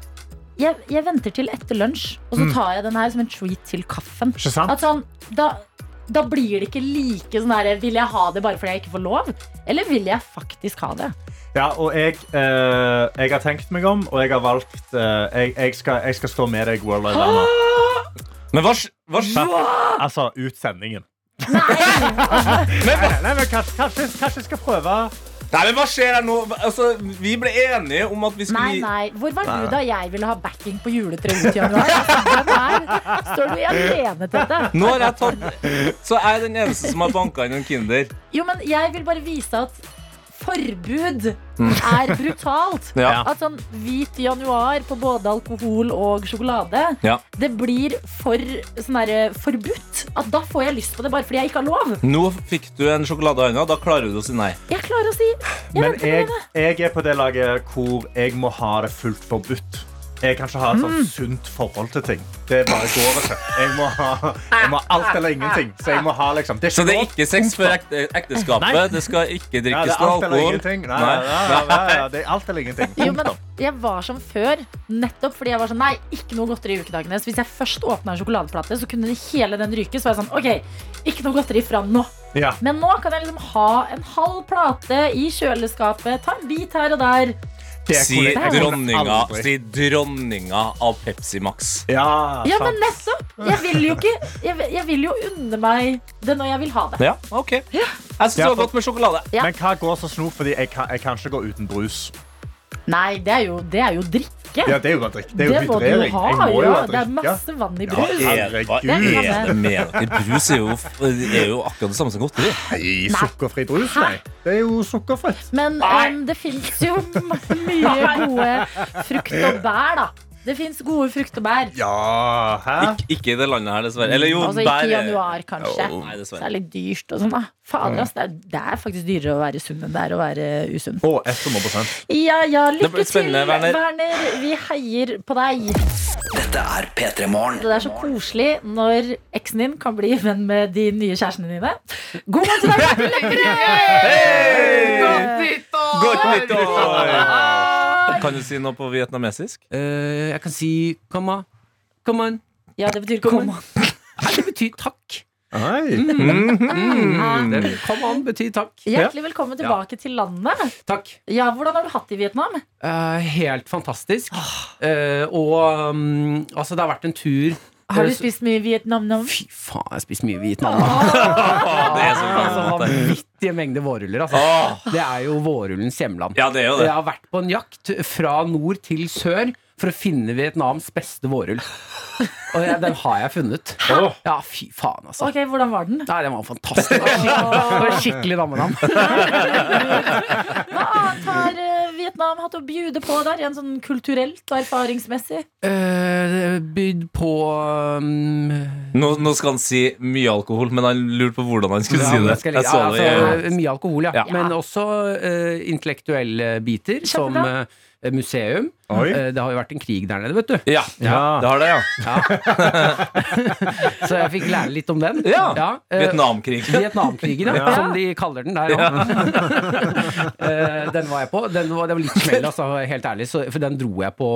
S2: Jeg, jeg venter til etter lunsj, og så tar jeg den her som en treat til kaffen.
S4: Ikke sant?
S2: At sånn, da, da blir det ikke like sånn der Vil jeg ha det bare fordi jeg ikke får lov? Eller vil jeg faktisk ha det?
S4: Ja, og jeg, eh, jeg har tenkt meg om, og jeg har valgt eh, jeg, jeg, skal, jeg skal stå med deg, World Wide Web.
S3: Men hva, s- hva s-
S4: Altså ut sendingen.
S2: Nei!
S4: Nei, nei, men kanskje, kanskje, kanskje jeg skal prøve
S3: Nei, men hva skjer her nå? Altså, vi ble enige om at vi skulle
S2: Nei,
S3: gi-
S2: nei. Hvor var du da jeg ville ha backing på juletreet ut i januar? altså, Hvem er? Står du i alene til dette?
S3: Nå har jeg tatt Så er jeg den eneste som har banka inn en Kinder.
S2: Jo, men jeg vil bare vise at forbud er brutalt.
S3: Ja.
S2: At sånn hvit januar på både alkohol og sjokolade,
S3: Ja.
S2: det blir for sånn derre forbudt. At da får jeg lyst på det bare fordi jeg ikke har lov.
S3: Nå fikk du en sjokolade i hånda. Da klarer du å si nei.
S2: Jeg klarer å si jeg
S4: Men
S2: venter
S4: jeg,
S2: med det.
S4: jeg er på det laget hvor jeg må ha det fullt forbudt. Jeg kan ikke ha et
S2: Mm.
S4: sånt sunt forhold til ting. Det er bare går ikke. Jeg må ha jeg må ha alt eller ingenting. Så jeg må ha liksom det er
S3: Så det er
S4: lov.
S3: ikke sex før ekte, ekteskapet.
S4: Nei.
S3: Det skal ikke
S4: ja, det
S3: drikkes
S4: er
S3: noe
S4: alt eller
S3: alkohol.
S4: ingenting. Nei,
S3: Nei.
S4: ja, ja, ja, ja, det er alt eller ingenting.
S2: Jo, men
S4: Punktum.
S2: jeg var som før, nettopp fordi jeg var sånn Nei, ikke noe godteri i ukedagene. Så hvis jeg først åpna en sjokoladeplate, så kunne hele den ryke. Så var jeg sånn OK, ikke noe godteri fra nå.
S4: Ja.
S2: Men nå kan jeg liksom ha en halv plate i kjøleskapet, ta en bit her og der.
S4: Det
S3: Si
S4: kunne jeg
S3: dronninga,
S4: aldri.
S3: si dronninga av Pepsi Max.
S4: Ja,
S2: Ja,
S4: sant.
S2: men nettopp! Jeg vil jo ikke Jeg, vil- jeg vil jo unne meg det når jeg vil ha det.
S3: Ja, OK. Jeg syns det
S4: Ja,
S3: var
S4: for-
S3: godt med sjokolade.
S2: Ja.
S4: Men hva går så snop? Fordi jeg kan, jeg kan ikke gå uten brus.
S2: Nei, det er jo, det er jo drikke.
S4: Ja, det er jo bare drikk. Det er jo
S2: må du jo
S4: hydrering.
S2: ha.
S4: Jeg må jo
S2: ja.
S4: ha
S2: Det er
S4: drikke.
S2: masse vann i
S4: Ja,
S2: brus.
S4: herregud.
S3: Hva
S2: Det er
S3: er det med dere? Brus er jo, er jo akkurat det samme som godteri.
S4: Nei, sukkerfri brus, nei. Det er jo sukkerfritt.
S2: Men em, det fins jo mye gode frukt og bær, da. Det fins gode frukt og bær.
S4: Ja, hæ?
S3: Ik ikke i det landet her, dessverre. Eller jo,
S2: Altså
S3: bær
S2: ikke i
S3: er-
S2: januar, kanskje.
S3: Jo, nei, dessverre.
S2: det er litt dyrt og sånn, da. Fader, ass. Det er, det er faktisk dyrere å være sunn enn det er å være usunn.
S4: Å, 100
S2: Ja, ja,
S3: Det
S2: lykke
S3: blir
S2: til,
S3: spennende, Werner.
S2: Werner. Vi heier på deg.
S10: Dette er P3 Morgen.
S2: Det er så koselig når eksen din kan bli venn med de nye kjærestene dine. God morgen til deg, Martin Lepperød!
S3: Godt nyttår! Kan du si noe på vietnamesisk?
S9: Eh, jeg kan si Come on. Come on.
S2: Ja, det betyr kom.
S9: Nei, det betyr takk.
S4: Hei.
S9: Det,
S3: Eh,
S9: come on betyr takk.
S2: Hjertelig velkommen tilbake til landet.
S9: Takk.
S2: Ja, Hvordan har du hatt det i Vietnam?
S9: Eh, helt fantastisk. Eh, og um, altså, det har vært en tur Eh,
S2: Har du spist mye Vietnam nå?
S9: Fy faen, jeg har spist mye Vietnam. Ah,
S3: det er så
S9: altså,
S3: godt.
S9: vanvittige mengder vårruller. Altså. Det er jo vårrullens hjemland.
S3: Ja, det er jo det.
S9: Jeg har vært på en jakt fra nord til sør for å finne Vietnams beste vårrull. Og jeg, den har jeg funnet. Ja, fy faen, altså.
S2: Ok, Hvordan var den?
S9: Nei, den var fantastisk. Det var skikkelig dammedam.
S2: Hva annet har eh, Vietnam hatt å bjude på der, igjen sånn kulturelt og erfaringsmessig?
S9: Eh, Bydd på um,
S3: Nå, nå skal han si mye alkohol, men han lurte på hvordan han skulle si det.
S9: skal
S3: Jeg
S9: ligge-
S3: så
S9: ja,
S3: det.
S9: altså, Mye alkohol, ja.
S3: Ja.
S9: Men også eh, intellektuelle biter, som
S2: Kjempebra.
S9: eh, museum.
S4: Oi.
S9: Eh, det har jo vært en krig der nede, vet du.
S3: Ja,
S4: Ja.
S3: det har det, ja.
S9: Så jeg fikk lære litt om den.
S3: Ja.
S9: eh,
S3: Vietnamkrigen.
S9: Vietnamkrigen, ja, som de kaller den der. Ja. Eh, den var jeg på. Den var, det var litt smell, altså, helt ærlig. Så, for den dro jeg på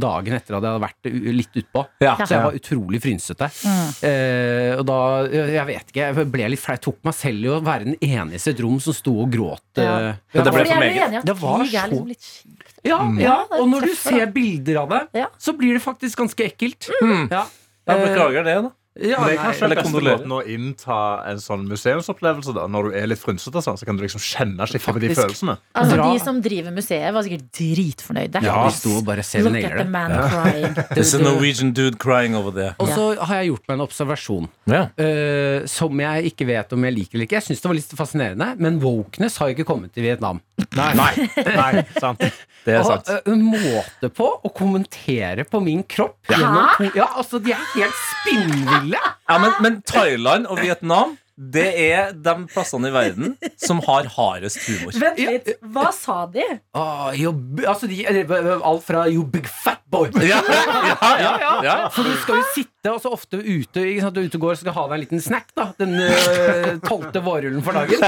S9: dagen etter at jeg hadde vært u- litt utpå.
S3: Ja.
S9: Så jeg var utrolig frynsete.
S2: Mm.
S9: Eh, og da, jeg vet ikke, jeg ble litt flau. Jeg tok meg selv i å være den eneste i et rom som sto og gråt. eh.
S3: Men det ble
S2: Fordi
S3: for
S2: jeg er jo
S3: Mm. meget.
S2: enig i at
S9: Det var
S2: krig er
S9: så-
S2: liksom litt kjipt.
S9: Ja, ja,
S2: Ja, det er
S9: og når du
S2: tøffere.
S9: ser bilder av det,
S2: Ja.
S9: så blir det faktisk ganske ekkelt. Ja. Eh,
S3: Jeg Mm. beklager det, da.
S9: Ja,
S4: Men det er
S9: nei,
S4: kanskje
S9: eller
S4: den beste
S9: kondolerer.
S4: måten å innta en sånn museumsopplevelse da, når du er litt frynsete, sånn, så kan du liksom kjenne skikkelig på de
S9: Faktisk.
S4: følelsene.
S2: Altså,
S9: Bra.
S2: de som driver museet, var sikkert dritfornøyde.
S9: Ja, de sto og bare ser vi
S2: Look
S9: nailer
S2: at the
S9: det.
S2: man crying.
S3: There's a Norwegian dude crying over there.
S9: Og så har jeg gjort meg en observasjon
S3: Ja.
S9: eh, som jeg ikke vet om jeg liker eller ikke. Jeg syns det var litt fascinerende, men wokeness har jo ikke kommet til Vietnam.
S4: Nei, nei, nei sant.
S3: Det er sant.
S9: Og, eh, en måte på å kommentere på min kropp. gjennom to- Ja, altså, de er helt spinnville!
S3: Ja, men, men Thailand og Vietnam det er de plassene i verden som har hardest humor.
S2: Vent litt, hva sa de?
S9: Ah, jo, b- altså, de, eller, alt fra You Big Fat Boy.
S3: Ja, ja, ja, ja.
S9: For du skal jo sitte og så ofte ute ikke sant, du er ute og går, skal ha deg en liten snack, da. Den eh, tolvte vårrullen for dagen.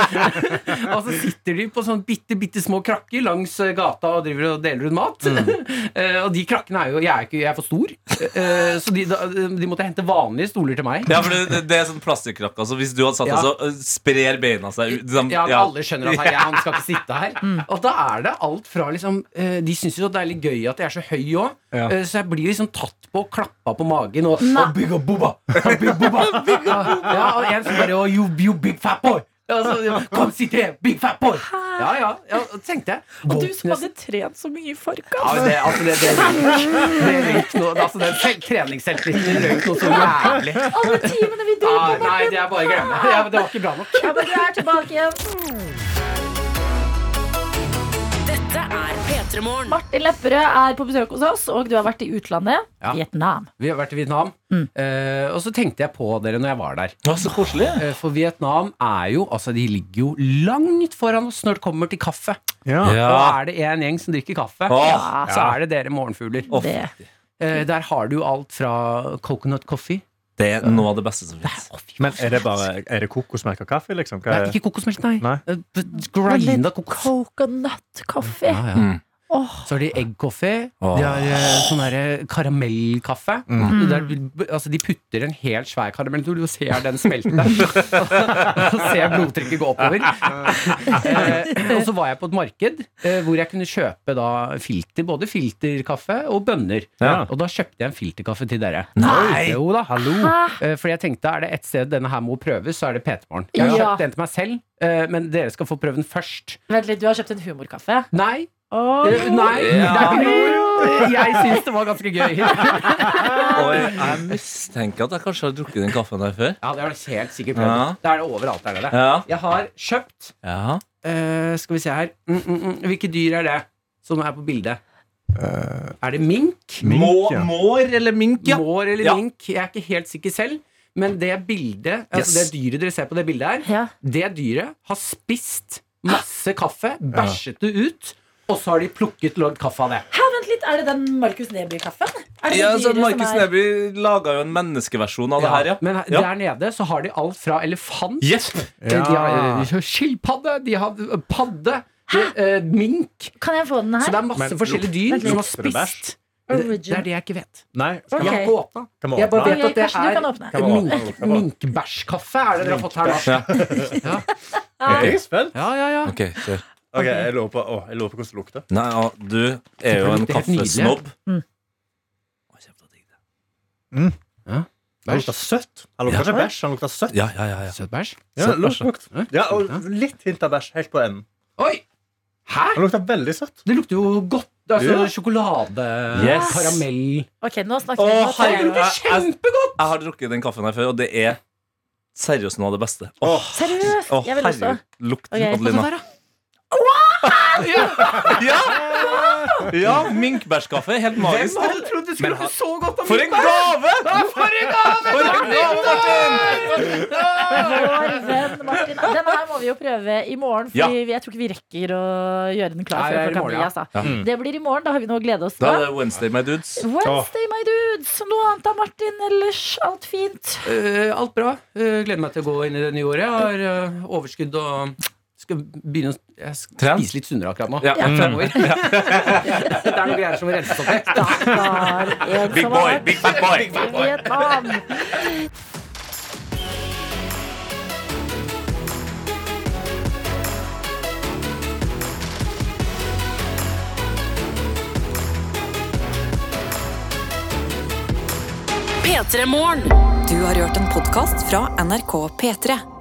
S9: og så sitter de på sånne bitte, bitte små krakker langs eh, gata og driver og deler ut mat. Eh, og de krakkene er jo Jeg er, ikke, jeg er for stor, Eh, så de, da, de måtte hente vanlige stoler til meg.
S3: Ja, for det, det- det er sånn plastikkrakke. Altså, hvis du hadde satt deg,
S9: Ja.
S3: så øh, sprer beina seg ut. liksom,
S9: Ja, men
S3: ja.
S9: alle skjønner at hei, han skal ikke sitte her.
S2: Mm.
S9: Og da er det alt fra liksom eh, De syns jo det er litt gøy at jeg er så høy òg, så jeg blir liksom tatt på og klappa på magen og
S2: Nei.
S9: «Å, Big up booba! Å, Big booba! ja, og en som bare «Å, you, you big fat boy! Altså, Kom, sitt her! Big fat boy! Ja, ja. ja og tenkte jeg.
S2: Og du som hadde trent så mye i
S9: ja,
S2: forkant.
S9: men det, altså det, det, det røyk noe altså Den selv- treningsselvtilliten røyk noe så jævlig.
S2: Alle timene vi dro
S9: Ah,
S2: på
S9: nei, det er bare å glemme. Ja, men det var ikke bra nok.
S2: Ja, men du er tilbake igjen.
S1: Dette er P3 Morgen.
S2: Martin Lepperød er på besøk hos oss, og du har vært i utlandet.
S9: Ja.
S2: Vietnam.
S9: Vi har vært i Vietnam, eh, og så tenkte jeg på dere når jeg var der.
S3: Å, så koselig.
S9: Eh, For Vietnam er jo Altså, de ligger jo langt foran oss når det kommer til kaffe. Og
S3: Ja.
S9: er det én gjeng som drikker kaffe,
S3: Åh.
S9: så er det dere morgenfugler.
S3: Åh,
S2: Det.
S9: Eh, der har du alt fra coconut coffee
S3: det er noe av det beste som fins.
S4: Men er det bare er det kokosmelk og kaffe, liksom? Hva
S9: Nei,
S4: er,
S9: ikke kokosmelk, nei.
S4: Nei.
S9: Eh, b- Grinda kokos.
S2: Coconut-kaffe.
S9: Ja, ja.
S3: Mm.
S2: Åh.
S9: Så har de eggkaffe.
S3: Åh.
S9: De har eh, sånn derre karamellkaffe.
S4: Mm.
S9: Der, altså, de putter en helt svær karamell Du du ser den smelte. og ser blodtrykket gå oppover. eh, og så var jeg på et marked eh, hvor jeg kunne kjøpe da filter. Både filterkaffe og bønner.
S4: Ja.
S9: Og da kjøpte jeg en filterkaffe til dere.
S3: Nei!
S9: Jo da.
S2: Hæ?
S9: Eh, Fordi jeg tenkte, er det et sted denne her må prøves, så er det PT-morgen. Jeg
S2: Ja.
S9: kjøpte en til meg selv, eh, men dere skal få prøve den først.
S2: Vent litt, du har kjøpt en humorkaffe.
S9: Nei,
S2: Åh.
S9: Eh, Nei,
S3: Ja.
S9: det er humor. Jeg syns det var ganske gøy.
S3: Og jeg, jeg mistenker at jeg kanskje har drukket den kaffen her før.
S9: Ja, det har du helt sikkert prøvd.
S3: Ja.
S9: Det er det overalt. Er det det.
S3: Ja.
S9: Jeg har kjøpt
S3: ja.
S9: eh, Skal vi se her mm, mm, mm. Hvilke dyr er det som er på bildet?
S3: Eh.
S9: er det mink?
S3: Må,
S4: ja.
S3: Mår eller mink, ja.
S9: Mår eller
S3: Ja.
S9: mink? Jeg er ikke helt sikker selv. Men det bildet altså
S3: Yes.
S9: Det dyret dere ser på det bildet her,
S2: Ja.
S9: det dyret har spist masse kaffe, bæsjet det ut, og så har de plukket lagd kaffe av det.
S2: Hæ, vent litt, er det den Markus Neby-kaffen? Er det
S3: ja
S2: det
S3: så
S2: dyret
S3: Markus
S2: som er-
S3: Neby laga jo en menneskeversjon av det her, ja.
S9: Men her-
S3: Ja.
S9: der nede så har de alt fra elefant
S3: Yes.
S9: De
S4: Ja.
S9: har eh, skilpadde, de har eh, padde, de, eh, mink
S2: Kan jeg få den
S9: Så det
S2: her?
S9: er masse
S4: Men
S9: forskjellige dyr
S4: lukter det
S9: som har
S4: bæsj?
S9: spist. Det,
S2: Origin.
S9: det er det jeg ikke vet.
S4: Nei, skal
S2: Ok.
S9: Jeg har ikke åpna.
S4: Kan vi
S9: Jeg
S4: åpne
S9: bare
S4: den?
S9: vet at det
S2: Karsten, du kan åpne.
S9: er
S4: Kan vi åpne den?
S9: mink,
S4: Kan vi åpne den?
S9: minkbæsjkaffe. Er det dere har fått her nå?
S3: Ja.
S9: Ja,
S4: Er jeg spent?
S9: ja, ja. ja.
S3: Ok, kjør.
S4: Ok, jeg lurer på, å, jeg lurer på hvordan det lukter.
S3: Nei, ja, du er jo en
S9: Det lukter helt nydelig.
S3: kaffesnobb.
S2: Mm.
S3: Å, kjempe digg det.
S4: Han lukter søtt. Han lukter ikke bæsj, han lukter søtt.
S3: Ja, ja, ja, ja.
S9: Søt bæsj.
S4: Ja,
S3: søtt
S4: lukt, lukt.
S9: Ja.
S4: ja og litt hint av bæsj helt på enden.
S9: Oi! Hæ?
S4: Han lukter veldig søtt.
S9: Det lukter jo godt. Altså
S4: Ja.
S9: sjokolade,
S3: Yes.
S9: karamell
S2: Ok, nå snakker
S3: Å,
S2: jeg. Nå snakker jeg.
S3: herregud, jeg, jeg,
S9: Kjempegodt!
S3: jeg har drukket den kaffen her før, og det er seriøst noe av det beste. Å,
S2: Seriøst?
S3: å,
S2: jeg vil også.
S3: herregud, lukt,
S2: Ok,
S3: Adelina.
S9: Der, da.
S3: Ja! ja Minkbærskaffe. Helt
S9: Hvem
S3: magisk.
S9: hadde trodd det skulle lukte så godt av
S3: For en
S9: minkbæsj?
S3: gave!
S9: Ja, For en gave!
S3: For en gave, Martin!
S2: Vår venn Martin. Den her må vi jo prøve i morgen, for
S3: Ja.
S2: jeg tror ikke vi rekker å gjøre den
S9: Nei,
S2: klar
S9: det
S2: før
S9: er i
S2: klokka
S9: morgen,
S2: ni.
S9: ja. Mm.
S2: Altså.
S3: Ja.
S2: Det blir i morgen. Da har vi noe å glede oss
S3: Da er
S2: til.
S3: det Wednesday, my dudes.
S2: Wednesday, my dudes. Noe annet av Martin ellers? Alt fint?
S9: Eh, alt bra. Eh, gleder meg til å gå inn i det nye året. Jeg har eh, overskudd og mm, skal begynne å jeg skal
S3: Tren.
S9: spise litt sunnere akkurat nå.
S3: Ja.
S9: Jeg er fremover. det er noen greier som må renses opp i.
S2: Stakkar. En
S3: Big
S2: som har
S3: boy,
S2: vært
S3: big fat boy.
S2: i Vietnam.
S1: P3 Morgen.
S11: Du har hørt en podkast fra NRK P3.